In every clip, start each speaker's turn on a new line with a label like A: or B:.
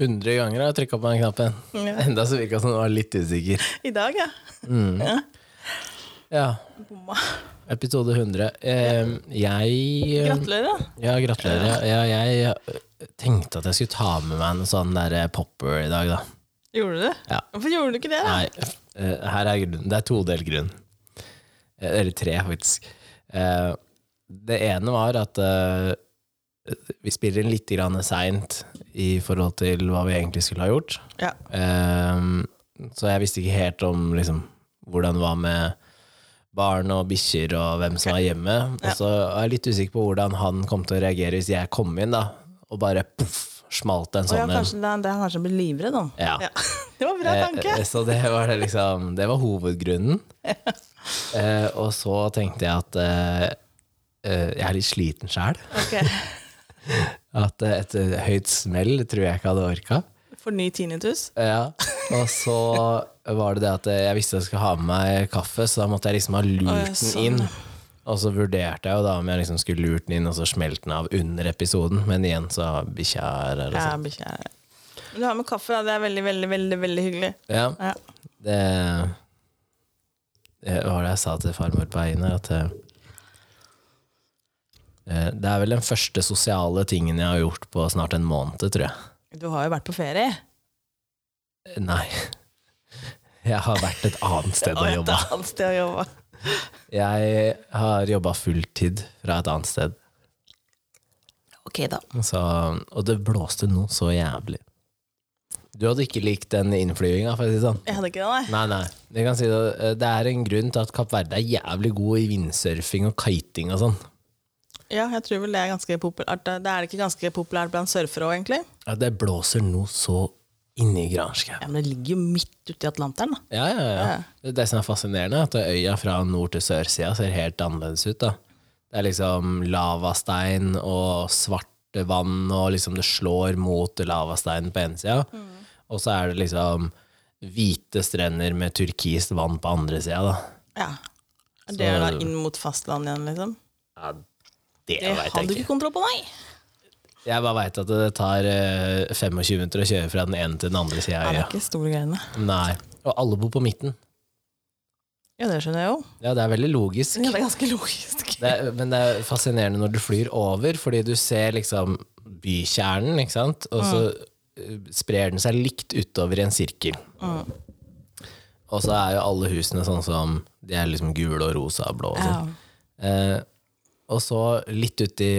A: 100 ganger har jeg trykka på den knappen.
B: Ja.
A: Enda så virka det som du var litt usikker.
B: I dag, ja. ja.
A: Ja,
B: Bomma.
A: episode 100. Eh, jeg eh,
B: Gratulerer, da.
A: Ja, gratulerer. Ja, jeg eh, tenkte at jeg skulle ta med meg en sånn der eh, popper i dag, da.
B: Gjorde du det?
A: Ja.
B: Hvorfor gjorde du ikke det, da?
A: Nei, eh, her er grunnen. Det er todelt grunn. Eh, Eller tre, faktisk. Eh, Det ene var at eh, vi spiller inn litt seint i forhold til hva vi egentlig skulle ha gjort.
B: Ja.
A: Ehm, så jeg visste ikke helt om liksom, hvordan det var med barn og bikkjer og hvem som var hjemme. Og så er jeg litt usikker på hvordan han kom til å reagere hvis jeg kom inn da, og bare poff, smalt en
B: Å ja,
A: sånn en.
B: kanskje det er det han kanskje blir livredd, da.
A: Ja.
B: Det var bra tanke.
A: Eh, eh, Så det var, det liksom, det var hovedgrunnen. Eh, og så tenkte jeg at eh, eh, jeg er litt sliten sjæl.
B: Ok.
A: At eh, et eh, høyt smell tror jeg ikke hadde orka.
B: For ny tinnitus.
A: Ja, og så var det det at jeg visste jeg skulle ha med meg kaffe, så da måtte jeg liksom ha lurt
B: Å, ja,
A: den
B: sånn.
A: inn. Og så vurderte jeg jo da om jeg liksom skulle lurt den inn, og så smelte den av under episoden. Men igjen, så bikkja er her og
B: Ja,
A: sånn.
B: bikkja er Men du har med kaffe, da. Det er veldig, veldig, veldig veldig hyggelig.
A: Ja,
B: Ja.
A: det det var det jeg sa til farmor på veien her, at eh, det er vel den første sosiale tingen jeg har gjort på snart en måned, tror jeg.
B: Du har jo vært på ferie.
A: Nei. Jeg har vært et annet sted og
B: Et
A: jobba.
B: annet sted å jobbe.
A: Jeg har jobba fulltid fra et annet sted,
B: Ok, da.
A: så, og det blåste noe så jævlig. Du hadde ikke likt den innflyginga, for å si det sånn.
B: Jeg hadde ikke det, nei.
A: Nei, nei. Jeg kan si det, eh, det er en grunn til at Kapp Verde er jævlig god i vindsurfing og kiting og sånn.
B: Ja, jeg tror vel det er ganske populært. Det er det ikke ganske populært blant surfere òg, egentlig.
A: Ja, det blåser noe så inni granskauen.
B: Ja, Men det ligger jo midt ute i Atlanteren, da.
A: Ja, ja, ja. Det, er det som er fascinerende, er at øya fra nord til sørsida ser helt annerledes ut. da. Det er liksom lavastein og svarte vann, og liksom det slår mot lavasteinen på ene sida.
B: Mm.
A: Og så er det liksom hvite strender med turkist vann på andre sida, da.
B: Ja. Er Det er da inn mot fastlandet igjen, liksom.
A: Ja, det
B: Det
A: veit
B: hadde
A: jeg
B: du
A: ikke.
B: ikke kontroll på, nei.
A: Jeg bare veit at det tar eh, 25 minutter å kjøre fra den ene til den andre sida
B: Ja,
A: av
B: det er
A: øya.
B: ikke store greiene.
A: Nei. Og alle bor på midten.
B: Ja, det skjønner jeg jo.
A: Ja, det er veldig logisk.
B: Ja, det er ganske logisk.
A: Det er, men det er fascinerende når du flyr over, fordi du ser liksom bykjernen, ikke sant? Og så eh, sprer den seg likt utover i en sirkel. Og så er jo alle husene sånn som De er liksom gule og rosa og blå og sånn. Eh, og så litt uti,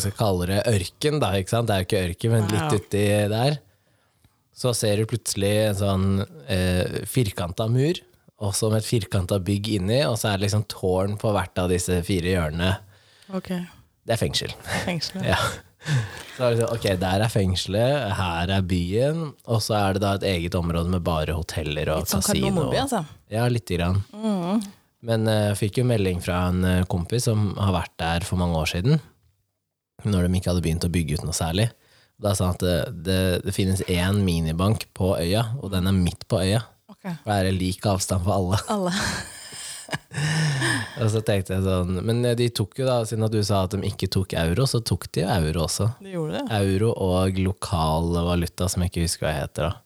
A: skal jeg kalle det ørken, da, ikke sant? Det er jo ikke ørken, men litt
B: Ja.
A: uti der. Så ser du plutselig en sånn eh, firkanta mur, og så med et firkanta bygg inni, og så er det liksom tårn på hvert av disse fire hjørnene.
B: Ok,
A: Det er fengsel.
B: fengselet.
A: ja. Så er det sånn, ok, der er fengselet, her er byen, og så er det da et eget område med bare hoteller og
B: Litt sånn
A: kasino.
B: Kardemommeby, altså.
A: Ja, lite grann.
B: Mm.
A: Men eh, jeg fikk jo melding fra en eh, kompis som har vært der for mange år siden, når de ikke hadde begynt å bygge ut noe særlig. Da sa han at det, det, det finnes én minibank på øya, og den er midt på øya.
B: Ok.
A: For det er lik avstand for alle.
B: Alle.
A: Og så tenkte jeg sånn, Men eh, de tok jo da, siden at du sa at de ikke tok euro, så tok de jo euro også.
B: Du gjorde det.
A: Euro og lokal valuta, som jeg ikke husker hva heter. da.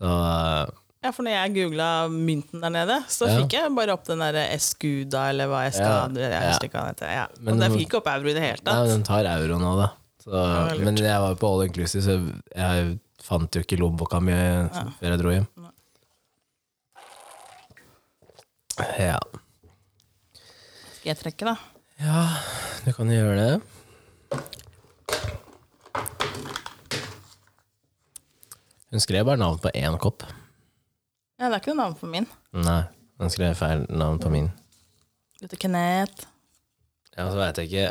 A: Så eh,
B: Ja, for når jeg googla mynten der nede, så
A: Ja.
B: fikk jeg bare opp den derre Escuda, eller hva jeg
A: Ja,
B: skal Jeg
A: ja.
B: husker ikke hva den heter. Ja.
A: Men-
B: Og jeg fikk ikke opp euro i det hele
A: Nei,
B: tatt.
A: men de tar euro nå, da. Så,
B: det er lurt.
A: men jeg var jo på all inclusive, så jeg fant jo ikke lommeboka mi før jeg dro hjem. Ja.
B: Skal jeg trekke, da?
A: ja, du kan jo gjøre det. Hun skrev bare navn på én kopp.
B: Ja, det er ikke noe navn på min.
A: Nei, hun skrev feil navn på min.
B: Dette er Kenneth.
A: Ja, så vet jeg ikke,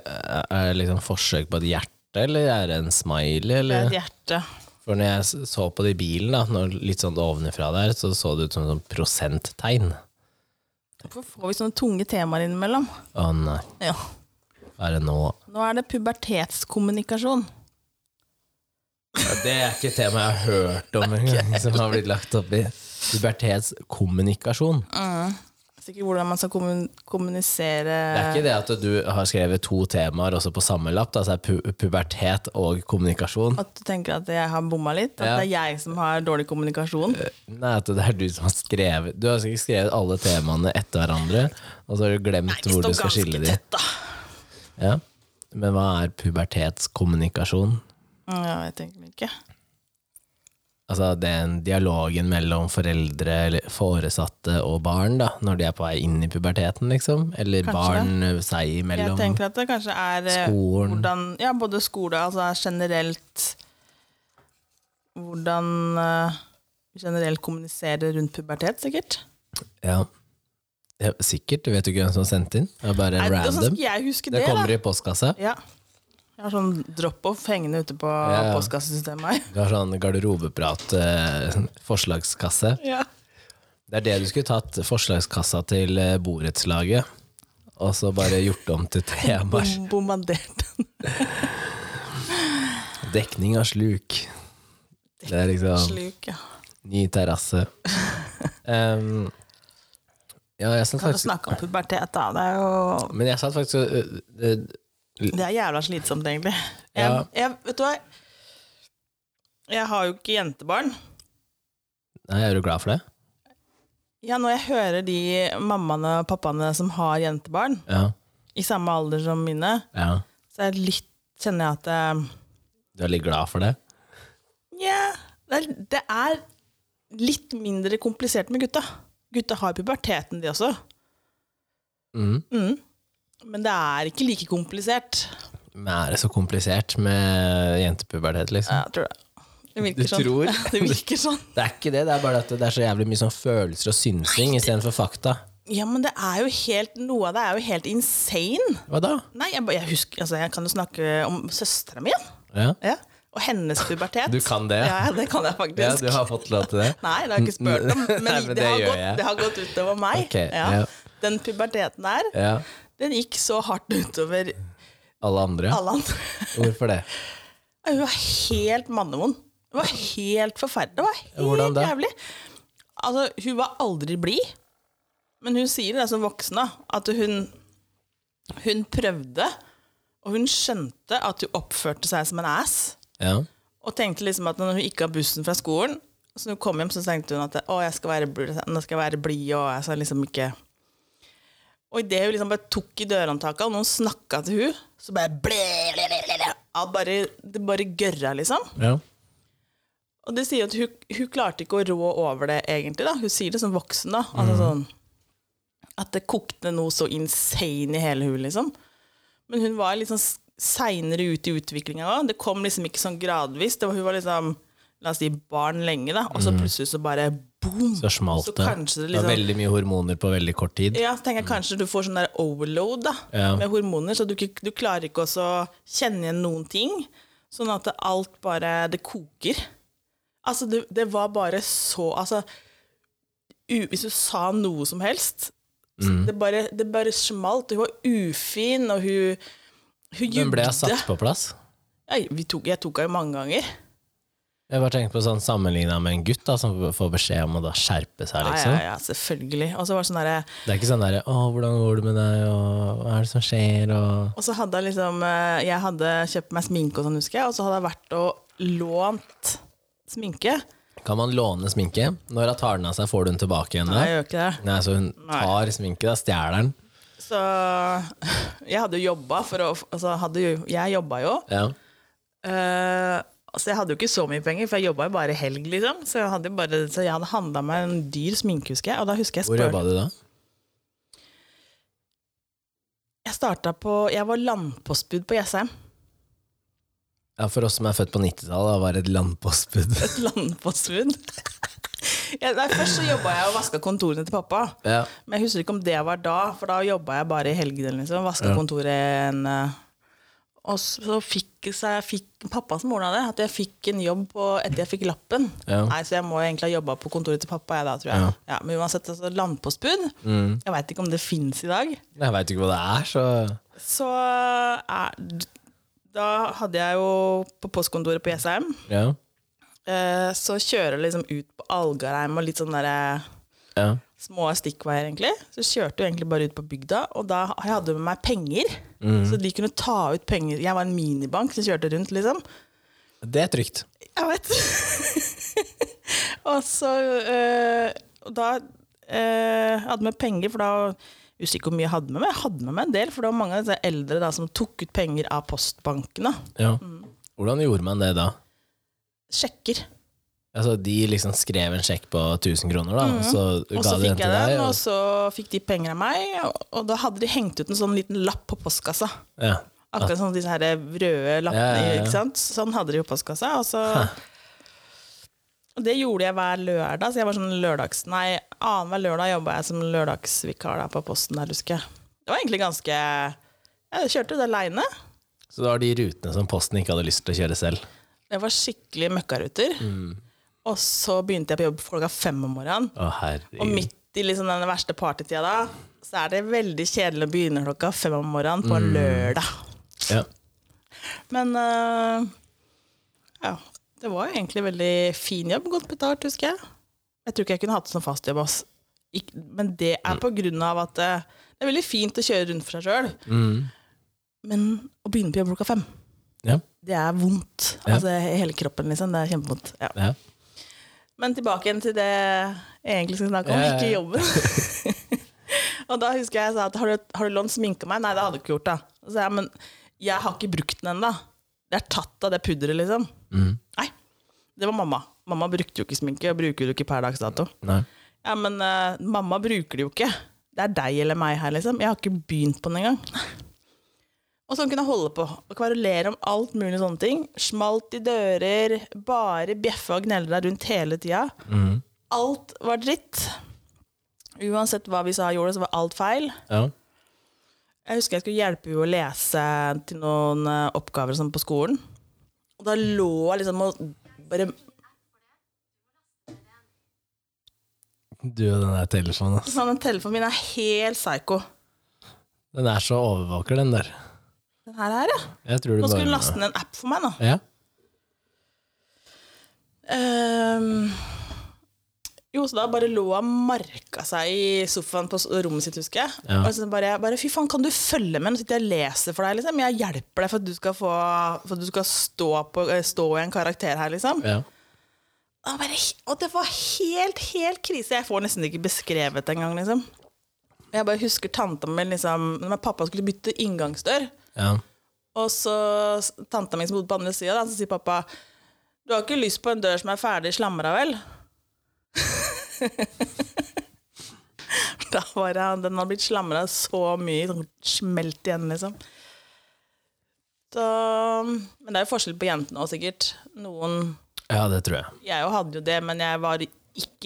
A: Er det liksom forsøk på et hjerte, eller er det en smiley?
B: Det er
A: Eller?
B: et hjerte.
A: For når jeg s- så på det i bilen, da, når litt sånn ovenifra der, så så det ut som sånn prosenttegn.
B: Hvorfor får vi sånne tunge temaer innimellom?
A: Å nei,
B: Ja.
A: hva er det nå?
B: Nå er det pubertetskommunikasjon.
A: Ja, det er ikke et tema jeg har hørt om engang, som har blitt lagt opp i pubertetskommunikasjon.
B: Mm. visste ikke hvordan man skal kommun- kommunisere
A: Det er ikke det at du har skrevet to temaer også på samme lapp. da, så er pu pubertet og kommunikasjon.
B: At du tenker at jeg har bomma litt? At
A: Ja.
B: det er jeg som har dårlig kommunikasjon?
A: Nei, at det er du som har skrevet Du har sikkert skrevet alle temaene etter hverandre, og så har du glemt
B: Nei, de
A: hvor du
B: står
A: skal skille de.
B: ganske tett, da.
A: Ja. Men hva er pubertetskommunikasjon?
B: Mm, Ja, jeg tenker meg ikke.
A: Altså den dialogen mellom foreldre, eller foresatte og barn, da, når de er på vei inn i puberteten, liksom? Eller
B: Kanskje
A: barn eh, seg
B: Jeg
A: imellom?
B: tenker at det kanskje er eh,
A: Skolen.
B: Hvordan, ja, både skole, altså generelt Hvordan eh, generelt kommunisere rundt pubertet, sikkert.
A: Ja. ja. Sikkert. Vet du ikke hvem som sendte inn? Det er bare
B: Nei, Hvordan
A: random.
B: skulle jeg huske
A: Det
B: det?
A: kommer
B: da?
A: i postkassa.
B: Ja. Jeg har sånn drop-off hengende ute på
A: Ja, ja.
B: postkassesystemet.
A: Du har sånn eh, garderobeprat-forslagskasse.
B: Ja.
A: det er det du skulle tatt forslagskassa til eh, borettslaget, og så bare gjort om til temaer.
B: Bom bombardert.
A: Dekning av sluk. Det er liksom
B: Sluk, ja.
A: ny terrasse. Um, ja, jeg satt
B: Kan du
A: faktisk
B: snakke om pubertet, da? Det er jo
A: Men jeg satt faktisk og eh, eh,
B: Det er jævla slitsomt, egentlig. Jeg,
A: Ja.
B: jeg, vet du hva? Jeg har jo ikke jentebarn.
A: Nei, er du glad for det?
B: Ja, når jeg hører de mammaene og pappaene som har jentebarn,
A: Ja.
B: i samme alder som mine,
A: ja.
B: så er jeg litt, kjenner jeg at eh,
A: Du er litt glad for det?
B: Nja det, er- det er litt mindre komplisert med gutta. Gutta har puberteten, de også.
A: Mm.
B: Mm. Men det er ikke like komplisert.
A: Men er det så komplisert med jentepubertet, liksom?
B: Ja, jeg tror det. Det
A: Du
B: virker sånn.
A: tror?
B: Det virker sånn.
A: Det er ikke det, det er bare at det er så jævlig mye sånn følelser og synsing istedenfor fakta.
B: Ja, men det er jo helt, noe av det er jo helt insane.
A: Hva da?
B: Nei, jeg, ba- jeg, husker, altså, jeg kan jo snakke om søstera mi.
A: Ja.
B: Ja. Og hennes pubertet.
A: Du kan det?
B: Ja, det kan jeg faktisk.
A: Ja, du har fått lov til det?
B: Nei, det har jeg ikke spurt om, men,
A: Nei, men
B: det,
A: det
B: har
A: gjør
B: gått,
A: jeg.
B: det har gått utover meg.
A: Ok,
B: ja.
A: ja.
B: Den puberteten der,
A: Ja.
B: den gikk så hardt utover
A: Alle andre?
B: alle andre.
A: Hvorfor det?
B: Ja, Hun var helt mannevond. Hun var helt forferdelig. Det var helt
A: Hvordan da?
B: jævlig. Altså, hun var aldri blid. Men hun sier det som voksen, da, at hun, hun prøvde, og hun skjønte at hun oppførte seg som en ass.
A: Ja.
B: Og tenkte liksom at når hun gikk av bussen fra skolen, så når hun kom hjem, så tenkte hun at å, jeg skal være, bl- nå skal jeg være blid, og jeg skal liksom ikke Og idet hun liksom bare tok i dørhåndtaket, og noen snakka til hun, så bare ble, ble, ble, ble, ble. Ja, bare, Det bare gørra, liksom.
A: ja.
B: Og det sier jo at hun, hun klarte ikke å rå over det, egentlig. da. Hun sier det som voksen, da. Altså sånn At det kokte noe så insane i hele hun, liksom. Men hun var litt sånn seinere ut i utviklinga òg. Det kom liksom ikke sånn gradvis. Det var, hun var liksom La oss si barn lenge, da, og så plutselig så bare boom!
A: Så smalt
B: Så
A: det.
B: kanskje
A: Det
B: det
A: var
B: liksom-
A: veldig mye hormoner på veldig kort tid.
B: Ja, så tenker jeg kanskje du får sånn der overload da,
A: Ja.
B: med hormoner, så du, ikke- du klarer ikke også å kjenne igjen noen ting. Sånn at det- alt bare Det koker. Altså, det, det var bare så Altså, u, hvis du sa noe som helst så
A: Mm.
B: det, bare, det bare smalt. Hun var ufin, og hun Hun
A: Hun ble
B: jugde.
A: satt på plass.
B: Jeg, vi tok, jeg tok henne mange ganger.
A: Jeg bare tenkte på sånn sammenligna med en gutt da, som får beskjed om å da skjerpe seg,
B: Ja,
A: liksom.
B: ja, ja, selvfølgelig. Og så var det sånn derre
A: Det er ikke sånn derre 'Å, hvordan går det med deg', og 'Hva er det som skjer', og
B: Og så hadde jeg liksom eh, Jeg hadde kjøpt meg sminke og sånn, husker jeg. Og så hadde jeg vært og lånt sminke.
A: Kan man låne sminke? Når hun tar den av seg, får du den tilbake igjen
B: Nei,
A: da?
B: jeg gjør ikke det.
A: Nei, så hun tar sminke, da. Stjeler den.
B: Så jeg hadde jo jobba for å altså hadde jo, Jeg jobba jo.
A: Ja.
B: eh, så jeg hadde jo ikke så mye penger, for jeg jobba jo bare helg, liksom. Så jeg hadde, jo bare, så jeg hadde handla meg en dyr sminke, husker jeg. Og da husker jeg
A: Hvor
B: spør,
A: jobba du da?
B: Jeg starta på Jeg var landpostbud på Jessheim.
A: Ja, For oss som er født på 90-tallet, var det et landpostbud.
B: Landpostbud. Ja, nei, først så jobba jeg og vaska kontorene til pappa.
A: ja.
B: Men jeg husker ikke om det var da, for da jobba jeg bare i helgene. Liksom. Vaska kontoret en eh, Og så fikk, så jeg fikk pappa som ordna det, at jeg fikk en jobb på, etter jeg fikk lappen.
A: Ja.
B: Nei, Så jeg må jo egentlig ha jobba på kontoret til pappa, jeg da, tror jeg.
A: Ja. Mm.
B: Ja. men uansett, altså, landpostbud Jeg veit ikke om det fins i dag.
A: Jeg veit ikke hva det er, så
B: Så er, da hadde jeg jo på postkontoret på Jessheim.
A: Ja.
B: eh, Så kjører jeg liksom ut på Algarheim og litt sånn derre
A: ja.
B: små stikkveier, egentlig. Så kjørte jeg egentlig bare ut på bygda, og da jeg hadde jeg med meg penger.
A: Mm.
B: Så de kunne ta ut penger. Jeg var en minibank som kjørte rundt, liksom.
A: Det er trygt.
B: Jeg vet. og så eh, Og da eh, hadde vi penger, for da jeg husker ikke hvor mye jeg hadde med meg. Jeg hadde med meg en del, for det var mange av disse eldre da, som tok ut penger av postbankene.
A: Ja. Hvordan gjorde man det da?
B: Sjekker.
A: Altså, de liksom skrev en sjekk på 1000 kroner, da, og så
B: Mhm. Og
A: ga
B: så
A: de den
B: fikk jeg
A: til deg.
B: den, og
A: Og,
B: så fikk de penger av meg. Og, og da hadde de hengt ut en sånn liten lapp på postkassa.
A: ja.
B: Akkurat sånn disse her røde lappene.
A: Ja, ja, ja.
B: Ikke sant? Sånn hadde de jo postkassa. Og så og det gjorde jeg hver lørdag. Så jeg var sånn lørdags... Nei, annenhver lørdag jobba jeg som lørdagsvikar da, på Posten der, husker jeg. Det var egentlig ganske Jeg kjørte det aleine.
A: Så det var de rutene som Posten ikke hadde lyst til å kjøre selv.
B: Det var skikkelig møkkaruter.
A: Mm.
B: Og så begynte jeg på jobb klokka fem om morgenen.
A: Å,
B: Og
A: herregud.
B: midt i liksom den verste partytida da, så er det veldig kjedelig å begynne klokka fem om morgenen på
A: Mm.
B: lørdag.
A: Ja.
B: Men øh, ja, det var jo egentlig veldig fin jobb, godt betalt, husker jeg. Jeg tror ikke jeg kunne hatt det som fast jobb, ass. Ikk- men det er på grunn av at øh, det er veldig fint å kjøre rundt for seg sjøl,
A: Mm.
B: men å begynne på jobb klokka fem,
A: Ja.
B: det er vondt.
A: Ja.
B: Altså i hele kroppen, liksom. Det er kjempevondt. Ja.
A: Ja.
B: Men tilbake igjen til det jeg egentlig skulle snakke om,
A: Ja, ja, ja.
B: ikke jobben. og da husker jeg jeg sa at har du, har du lånt sminke av meg? Nei, det hadde du ikke gjort. da. Og så sa jeg, men jeg har ikke brukt den ennå. Det er tatt av det pudderet, liksom.
A: Mm.
B: Nei, det var mamma. Mamma brukte jo ikke sminke, og bruker det jo ikke per dags dato.
A: Nei.
B: Ja, men eh, mamma bruker det jo ikke. Det er deg eller meg her, liksom. Jeg har ikke begynt på den engang. Og sånn kunne jeg holde på. Og kverulere om alt mulig sånne ting. Smalt i dører, bare bjeffa og gnelle deg rundt hele tida.
A: Mm.
B: Alt var dritt. Uansett hva vi sa og gjorde, så var alt feil.
A: Ja.
B: Jeg husker jeg skulle hjelpe henne å lese til noen eh, oppgaver og sånn på skolen. Og da lå jeg liksom og bare
A: Du og den der telefonen. ass.
B: Sånn, den telefonen min er helt psycho.
A: Den er så overvåker, den der.
B: Den her, her, ja.
A: Jeg tror du
B: Nå
A: bare
B: skulle hun laste ned en app for meg, nå.
A: Ja.
B: Ehm, jo, så da bare lå han og marka seg i sofaen på s- rommet sitt, husker jeg.
A: Ja.
B: Og så bare, jeg bare 'fy faen, kan du følge med?' Nå sitter jeg og leser for deg, liksom. Jeg hjelper deg for at du skal, få, for at du skal stå, på, eh, stå i en karakter her, liksom.
A: ja.
B: Og, bare, og det var helt, helt krise. Jeg får nesten ikke beskrevet det engang, liksom. Jeg bare husker tanta mi liksom Når pappa skulle bytte inngangsdør,
A: ja.
B: og så s- tanta mi som bodde på andre sida, da, så sier pappa Du har ikke lyst på en dør som er ferdig slamra, vel? da var jeg, Den hadde blitt slamra så mye, sånn smelt igjen, liksom. Så, men det er jo forskjell på jentene òg, sikkert. Noen
A: Ja, det tror jeg.
B: Jeg jo hadde jo det, men jeg var ikke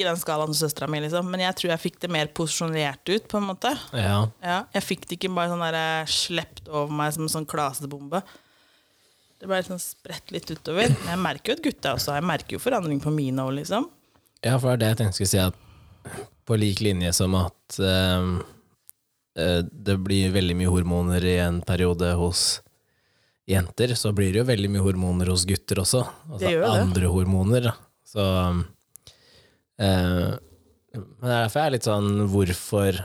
B: i den skalaen som søstera mi, liksom. Men jeg tror jeg fikk det mer posisjonert ut, på en måte.
A: Ja.
B: Ja, jeg fikk det ikke bare sånn der eh, slept over meg som en sånn klasebombe. Det ble sånn spredt litt utover. Men jeg merker jo at gutta også Jeg merker jo forandring på mine òg, liksom.
A: Ja, for det er det jeg tenkte jeg skulle si, at på lik linje som at ehm, eh, det blir veldig mye hormoner i en periode hos jenter, så blir det jo veldig mye hormoner hos gutter også. Altså
B: Det gjør jo det.
A: andre hormoner. Da. Så eh, Men det er derfor jeg er litt sånn Hvorfor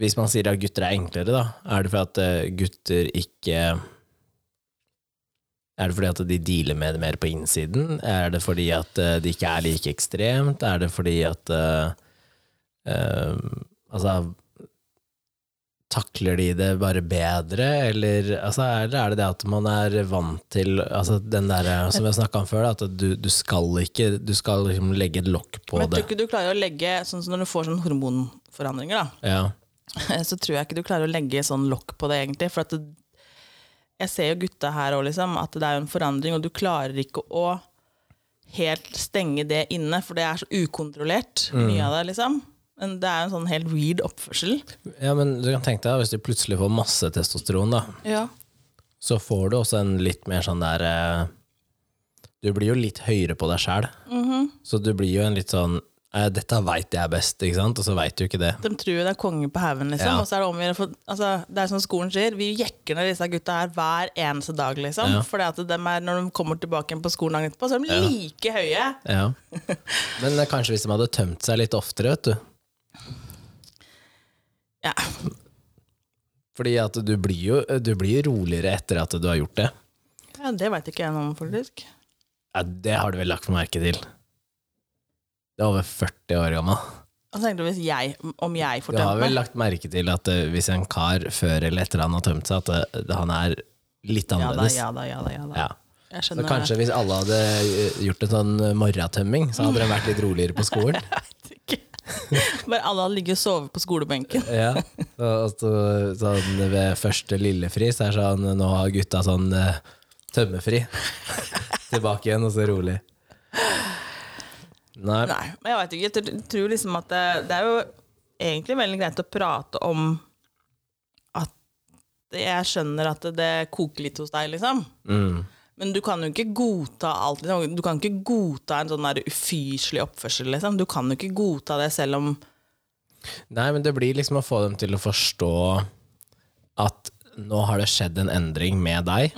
A: Hvis man sier at gutter er enklere, da, er det fordi at eh, gutter ikke er det fordi at de dealer med det mer på innsiden? Er det fordi at eh, det ikke er like ekstremt? Er det fordi at eh, eh, Altså Takler de det bare bedre, eller altså, er, det, er det det at man er vant til altså, den der, Som vi har snakka om før, da, at du, du skal ikke Du skal liksom legge et lokk på
B: Men
A: det.
B: jeg tror ikke du klarer å legge Sånn som når du får sånne hormonforandringer, da,
A: Ja,
B: så tror jeg ikke du klarer å legge sånn lokk på det, egentlig. For at det, jeg ser jo gutta her òg, liksom, at det er jo en forandring, og du klarer ikke å helt stenge det inne, for det er så ukontrollert, mye av det, liksom. Men det er jo en sånn helt weird oppførsel.
A: ja, men du kan tenke deg hvis du plutselig får masse testosteron, da.
B: Ja.
A: så får du også en litt mer sånn der
B: Mhm.
A: eh, Du blir jo litt høyere på deg sjæl. Så du blir jo en litt sånn eh, dette veit jeg best, ikke sant? og så veit du ikke det.
B: De tror jo det er konge på haugen, liksom.
A: Ja.
B: Og så er det om å gjøre å få- altså, Det er som skolen sier, vi jekker ned disse gutta her hver eneste dag, liksom.
A: Ja.
B: Fordi at dem er, når de kommer tilbake igjen på skolen dagen etterpå, så er de like høye.
A: Ja. Men eh, kanskje hvis de hadde tømt seg litt oftere, vet du.
B: Ja.
A: Fordi at du blir jo eh, du blir roligere etter at du har gjort det.
B: ja, det veit ikke jeg noe om, faktisk.
A: Ja, det har du vel lagt merke til. Du er over 40 år gammel.
B: Og så tenkte jeg hvis jeg, om jeg
A: Du har
B: fortømte
A: vel
B: meg
A: lagt merke til at eh, hvis en kar før eller etter han har tømt seg, at eh, han er litt
B: Ja da,
A: annerledes.
B: ja da, ja da. ja da.
A: Ja.
B: Jeg
A: Så
B: skjønner
A: kanskje hvis alle hadde eh, gjort en sånn eh, morgentømming, så hadde de vært litt roligere på skolen.
B: det ikke. Bare alle hadde ligget og sovet på skolebenken.
A: Ja. Så, altså, sånn, ved første lillefri så er det sånn Nå har gutta sånn eh, tømmefri. Tilbake igjen, og så rolig. Nei.
B: Nei, men jeg vet ikke. Jeg tr- tror liksom at det, det er jo egentlig veldig greit å prate om at jeg skjønner at det, det koker litt hos deg, liksom.
A: Mm.
B: Men du kan jo ikke godta alt. Liksom. Du kan ikke godta en sånn der ufyselig oppførsel, liksom. Du kan jo ikke godta det selv om
A: Nei, men det blir liksom å få dem til å forstå at nå har det skjedd en endring med deg,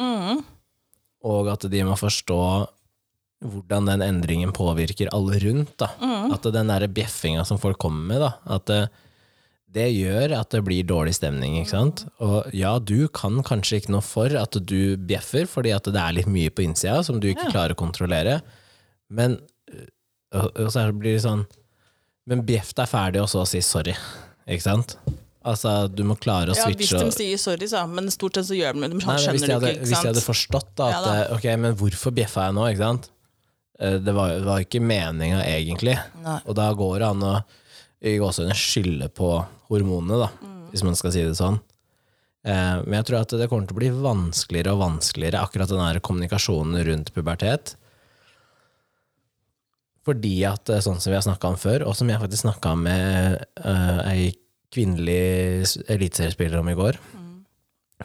A: og at de må forstå hvordan den endringen påvirker alle rundt. Da. At den der bjeffinga som folk kommer med, da, at det, det gjør at det blir dårlig stemning. Ikke sant? Og ja, du kan kanskje ikke noe for at du bjeffer, fordi at det er litt mye på innsida som du ikke klarer å kontrollere. Men eh, og, og så er det- blir det sånn Men bjeff deg ferdig, og så si sorry. Ikke sant? Altså, du må klare å
B: Ja, hvis
A: switche.
B: de
A: og-
B: sier sorry, så, men stort sett så gjør de det. De
A: Nei, men hvis jeg
B: skjønner det
A: hadde,
B: jo ikke,
A: Hvis jeg
B: ikke
A: hadde
B: sant.
A: forstått da, at eh,
B: Ja
A: Ok, men hvorfor bjeffa jeg nå, ikke sant? Eh, Det var, var ikke meninga egentlig.
B: Nei.
A: Og da går det an å i gåsehudet skylde på hormonene, da, hvis man skal si det sånn. Eh, Men jeg tror at det kommer til å bli vanskeligere og vanskeligere, akkurat den her kommunikasjonen rundt pubertet. Fordi at, eh, sånn som vi har snakka om før, og som jeg faktisk snakka med eh, ei kvinnelig s- eliteseriespiller om i går,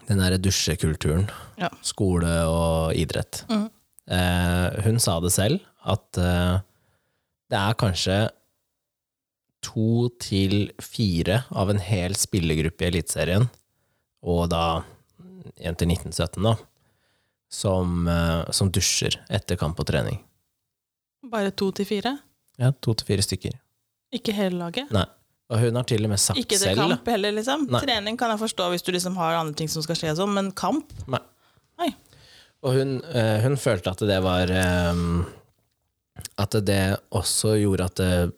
A: den derre dusjekulturen,
B: Ja.
A: skole og idrett. Eh, hun sa det selv, at eh, det er kanskje to til fire av en hel spillergruppe i Eliteserien, og da en til 1917, da, som, eh, som dusjer etter kamp og trening.
B: Bare to til fire?
A: Ja, to til fire stykker.
B: Ikke hele laget?
A: Nei. Og hun har til og med sagt
B: Ikke til
A: selv da.
B: kamp heller, liksom?
A: Nei.
B: Trening kan jeg forstå hvis du liksom har andre ting som skal skje, og sånn, men kamp?
A: Nei.
B: Nei.
A: Og hun, eh, hun følte at det var eh, At det også gjorde at det,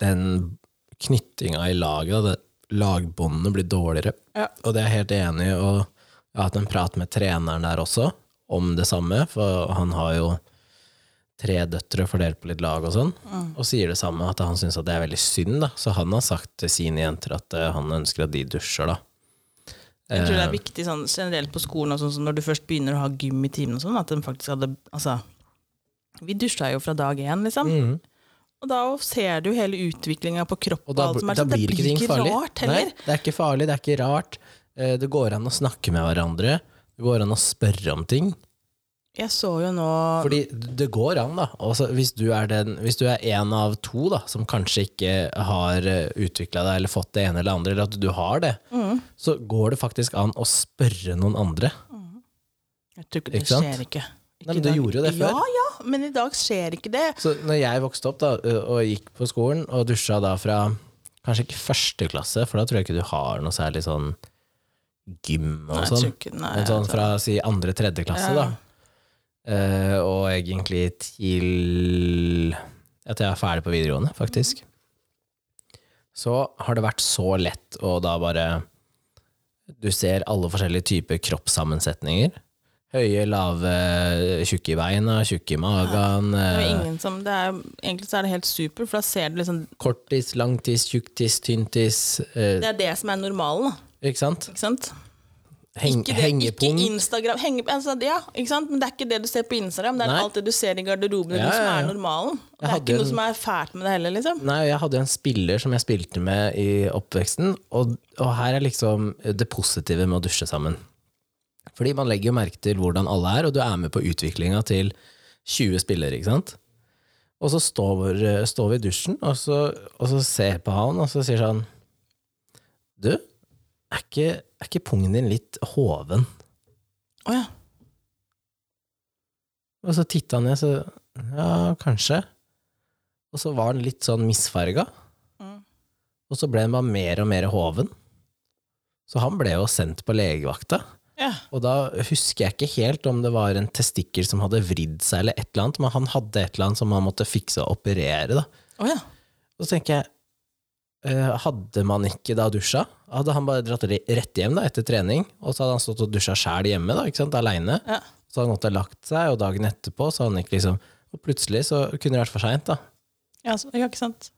A: den knyttinga i laget, da, det, lagbåndene, blir dårligere.
B: Ja.
A: Og det er jeg helt enig i. Og jeg har hatt en prat med treneren der også om det samme, for han har jo tre døtre fordelt på litt lag og sånn,
B: Mm.
A: og sier det samme, at han syns det er veldig synd, da. Så han har sagt til sine jenter at eh, han ønsker at de dusjer, da. Eh,
B: Jeg tror det er viktig sånn, generelt på skolen, og sånn, som når du først begynner å ha gym i timen, og sånn, at den faktisk hadde altså, Vi dusja jo fra dag én, liksom.
A: Mhm.
B: Og da ser du hele utviklinga på kropp
A: Og
B: og,
A: da,
B: alt som er
A: da
B: sånn.
A: blir ikke ting farlig.
B: rart heller.
A: Nei, det er ikke farlig, det er ikke rart. Eh, Det går an å snakke med hverandre. Det går an å spørre om ting.
B: Jeg så jo nå
A: Fordi det går an, da. Altså, hvis, du er den, hvis du er en av to da, som kanskje ikke har utvikla deg eller fått det ene eller det andre, eller at du har det,
B: Mm.
A: så går det faktisk an å spørre noen andre.
B: Jeg tror ikke det
A: Ikke sant?
B: skjer ikke. ikke
A: Nei, men
B: i
A: du
B: dag.
A: gjorde jo det før.
B: Ja, ja, men i dag skjer ikke det.
A: Så når jeg vokste opp da, eh, og gikk på skolen og dusja da fra kanskje ikke første klasse, for da tror jeg ikke du har noe særlig sånn gym og
B: Nei, jeg
A: sånn.
B: tror ikke, nei,
A: Men sånn
B: jeg tror-
A: fra si andre-tredje klasse,
B: Ja.
A: da. Eh, og egentlig til at jeg er ferdig på videregående, faktisk. Så har det vært så lett å da bare Du ser alle forskjellige typer kroppssammensetninger. Høye, lave, tjukke i beina, tjukke i magen.
B: det er
A: eh,
B: jo ingen som, det er, egentlig så er det helt super, for da ser du liksom
A: Korttis, langtiss, tjukktiss, tynntiss. Eh,
B: Det er det som er normalen, da.
A: ikke sant?
B: Ikke sant?
A: Heng,
B: Ikke, det, ikke
A: hengepung.
B: Instagram henge, altså, Ja, ikke sant? Men det er ikke det du ser på Instagram. Det er
A: Nei.
B: alt det du ser i garderoben,
A: Ja,
B: det som
A: ja, ja.
B: er normalen.
A: Jeg
B: Det er
A: hadde
B: ikke
A: en-
B: noe som er fælt med det heller, liksom.
A: Nei, jeg hadde jo en spiller som jeg spilte med i oppveksten, og, og her er liksom det positive med å dusje sammen. Fordi man legger jo merke til hvordan alle er, og du er med på utviklinga til 20 spillere, ikke sant? Og så står, står vi i dusjen, og så, og så ser jeg på han, og så sier han Du, er ikke, er ikke pungen din litt hoven?
B: Å ja.
A: Og så titta han ned, så Ja, kanskje. Og så var han litt sånn misfarga,
B: Mm.
A: og så ble han bare mer og mer hoven. Så han ble jo sendt på legevakta.
B: ja.
A: Og da husker jeg ikke helt om det var en testikkel som hadde vridd seg, eller et eller annet, men han hadde et eller annet som han måtte fikse og operere. da.
B: Å ja.
A: Og så tenker jeg, eh, hadde man ikke da dusja? Hadde han bare dratt re- rett hjem da, etter trening, og så hadde han stått og dusja sjæl hjemme, da, ikke sant, aleine.
B: Ja.
A: Så hadde han gått og lagt seg, og dagen etterpå så hadde han ikke liksom Og plutselig så kunne det vært for seint, da.
B: Ja, så- ja, ikke sant?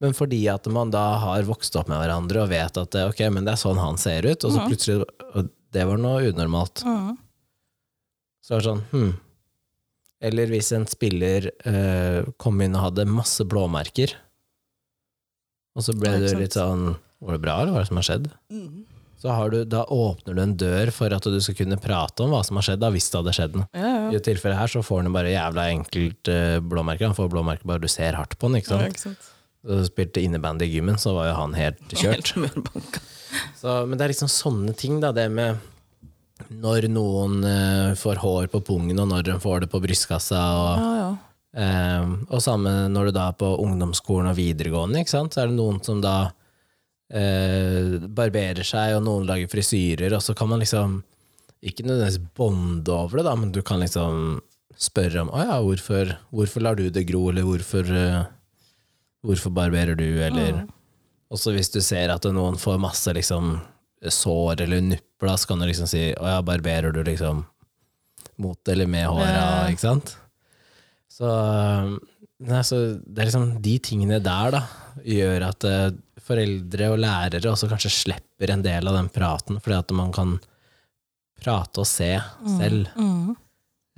A: Men fordi at man da har vokst opp med hverandre og vet at eh, ok, men det er sånn han ser ut, og så
B: Mhm.
A: plutselig og Det var noe unormalt.
B: Mm.
A: Så det var sånn, hm. Eller hvis en spiller eh, kom inn og hadde masse blåmerker, og så ble
B: Ja, ikke
A: du
B: sant.
A: litt sånn Var det bra, eller hva er det som har skjedd?
B: Mm.
A: Så har du, da åpner du en dør for at du skal kunne prate om hva som har skjedd, da, hvis det hadde skjedd noe.
B: Ja, ja.
A: I
B: ja.
A: dette tilfellet her så får han jo bare jævla enkelt eh, blåmerker. Han får blåmerker bare du ser hardt på han, ikke
B: Ja,
A: sant.
B: ikke sant?
A: Så spilte innebandy i gymmen, så var jo han helt kjørt.
B: Helt mørbanka.
A: Så, men det er liksom sånne ting, da. Det med når noen eh, får hår på pungen, og når de får det på brystkassa. Og,
B: Ja, ja.
A: eh, og samme når du da er på ungdomsskolen og videregående, ikke sant? så er det noen som da eh, barberer seg, og noen lager frisyrer, og så kan man liksom ikke nødvendigvis bonde over det, da, men du kan liksom spørre om å ja, hvorfor, hvorfor lar du det gro, eller hvorfor, eh, hvorfor barberer du, eller Også hvis du ser at noen får masse liksom, sår eller nupper, da, så kan du liksom si å ja, barberer du liksom mot eller med håra,
B: Ja.
A: ikke sant? Så, eh, nei, så det er liksom de tingene der da, gjør at eh, foreldre og lærere også kanskje slipper en del av den praten, fordi at man kan prate og se selv.
B: Mm.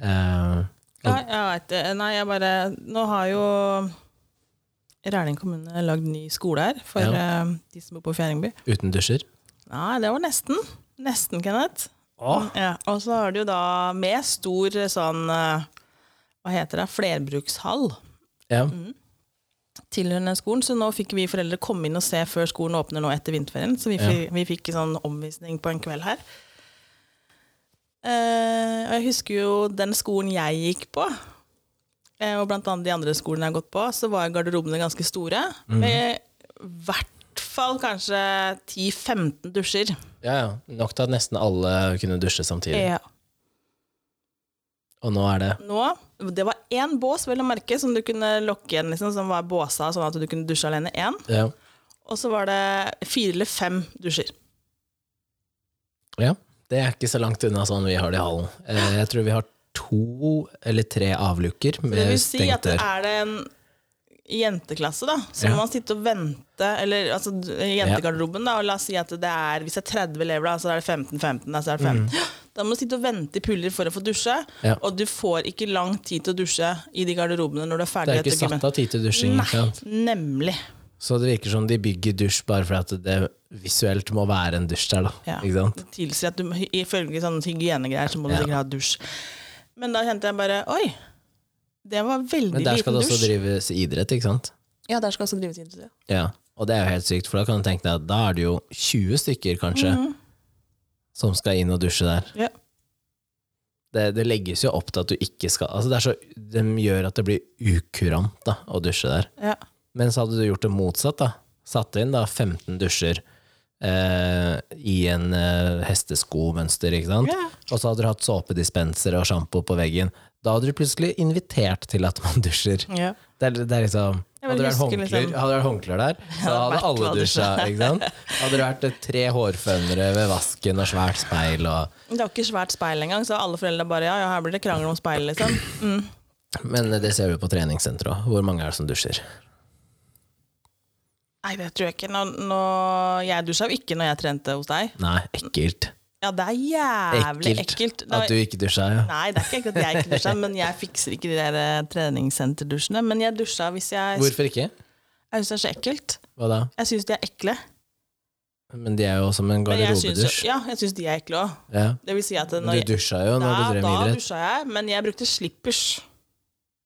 A: Eh,
B: Nei, jeg vet det. Nei, jeg bare Nå har jo Rælingen kommune lagd ny skole her for
A: Ja.
B: eh, de som bor på Fjerdingby.
A: uten dusjer.
B: Nei, det var nesten. Nesten, Kenneth.
A: Åh.
B: Ja. Og så har du jo da med stor eh, sånn eh, Hva heter det? Flerbrukshall
A: Ja.
B: Mm. tilhørende skolen. Så nå fikk vi foreldre komme inn og se før skolen åpner nå etter vinterferien. Så vi, fikk- vi fikk en sånn omvisning på en kveld her. Eh, og jeg husker jo den skolen jeg gikk på, eh, og blant annet de andre skolene jeg har gått på, så var garderobene ganske store. Med i hvert fall kanskje 10-15 dusjer.
A: ja, ja. Nok til at nesten alle kunne dusje samtidig.
B: Ja.
A: Og nå er det
B: nå. Det var én bås, vel å merke, som du kunne lokke igjen, liksom, som var båsa, sånn at du kunne dusje alene én.
A: ja.
B: Og så var det fire eller fem dusjer.
A: ja. Det er ikke så langt unna sånn vi har det i hallen. Eh, jeg tror vi har to eller tre avluker
B: Det
A: med
B: vil si
A: stengt
B: at
A: dør.
B: er det en jenteklasse, da, så
A: Ja.
B: må man sitte og vente, eller altså d- jentegarderoben, da, og la oss si at det er hvis det er 30 elever, da, så er det 15-15, da, så er det 15. Da må du sitte og vente i puller for å få dusje,
A: Mm. Ja.
B: og du får ikke lang tid til å dusje i de garderobene når du er
A: Det
B: ferdig
A: er ikke
B: etter
A: satt
B: gymmet.
A: av tid til dusjing. ikke sant?
B: Nei, nemlig.
A: Så det virker som de bygger dusj bare for at det visuelt må være en dusj der. da.
B: Ja.
A: Ikke sant?
B: Det tilsier at du må- ifølge sånne hygienegreier så må du
A: Ja.
B: sikkert ha dusj. Men da kjente jeg bare Oi! Det var veldig
A: Men der skal
B: liten
A: det
B: dusj.
A: også drives idrett, ikke sant?
B: Ja, der skal også drives idrett. ja.
A: Ja, og det er jo helt sykt, for da kan du tenke deg at da er det jo 20 stykker kanskje som skal inn og dusje der.
B: Mhm. Ja.
A: Det, det legges jo opp til at du ikke skal Altså, det er så De gjør at det blir ukurant da, å dusje der.
B: Ja.
A: Men så hadde du gjort det motsatt, da. Satt inn da 15 dusjer eh, i en eh, hesteskomønster, ikke sant?
B: Ja.
A: Og så hadde du hatt såpedispenser og sjampo på veggen. Da hadde du plutselig invitert til at man dusjer.
B: Ja.
A: Det er, det er liksom
B: Jeg
A: hadde
B: vil
A: det, vært
B: huske,
A: håndklær,
B: liksom.
A: hadde det vært håndklær der, så
B: hadde
A: hadde
B: vært
A: alle
B: hva
A: dusja. ikke sant? Hadde det vært eh, tre hårfønere ved vasken og svært speil og
B: Det var ikke svært speil engang, så alle foreldre bare ja, ja, her blir det krangel om speil, liksom. Mm.
A: Men eh, det ser vi på treningssenteret òg. Hvor mange er det som dusjer?
B: Nei, det tror jeg ikke. Nå, nå, jeg dusja jo ikke når jeg trente hos deg.
A: Nei, ekkelt.
B: Ja, det er jævlig ekkelt. Da-
A: At du ikke dusja, ja.
B: Nei, det er ikke ekkelt at jeg ikke dusja, men jeg fikser ikke de der eh, treningssenterdusjene. Men jeg dusja hvis jeg
A: Hvorfor ikke?
B: Jeg syns det er så ekkelt.
A: Hva da?
B: Jeg syns de er ekle.
A: Men de er jo som en
B: Men jeg syns jo-
A: garderobedusj.
B: Ja, jeg syns de er ekle òg.
A: Ja.
B: Det vil si at når
A: Men du dusja jo
B: jeg,
A: når du
B: da,
A: drev
B: da
A: med idrett.
B: dusja jeg, men jeg brukte slippers.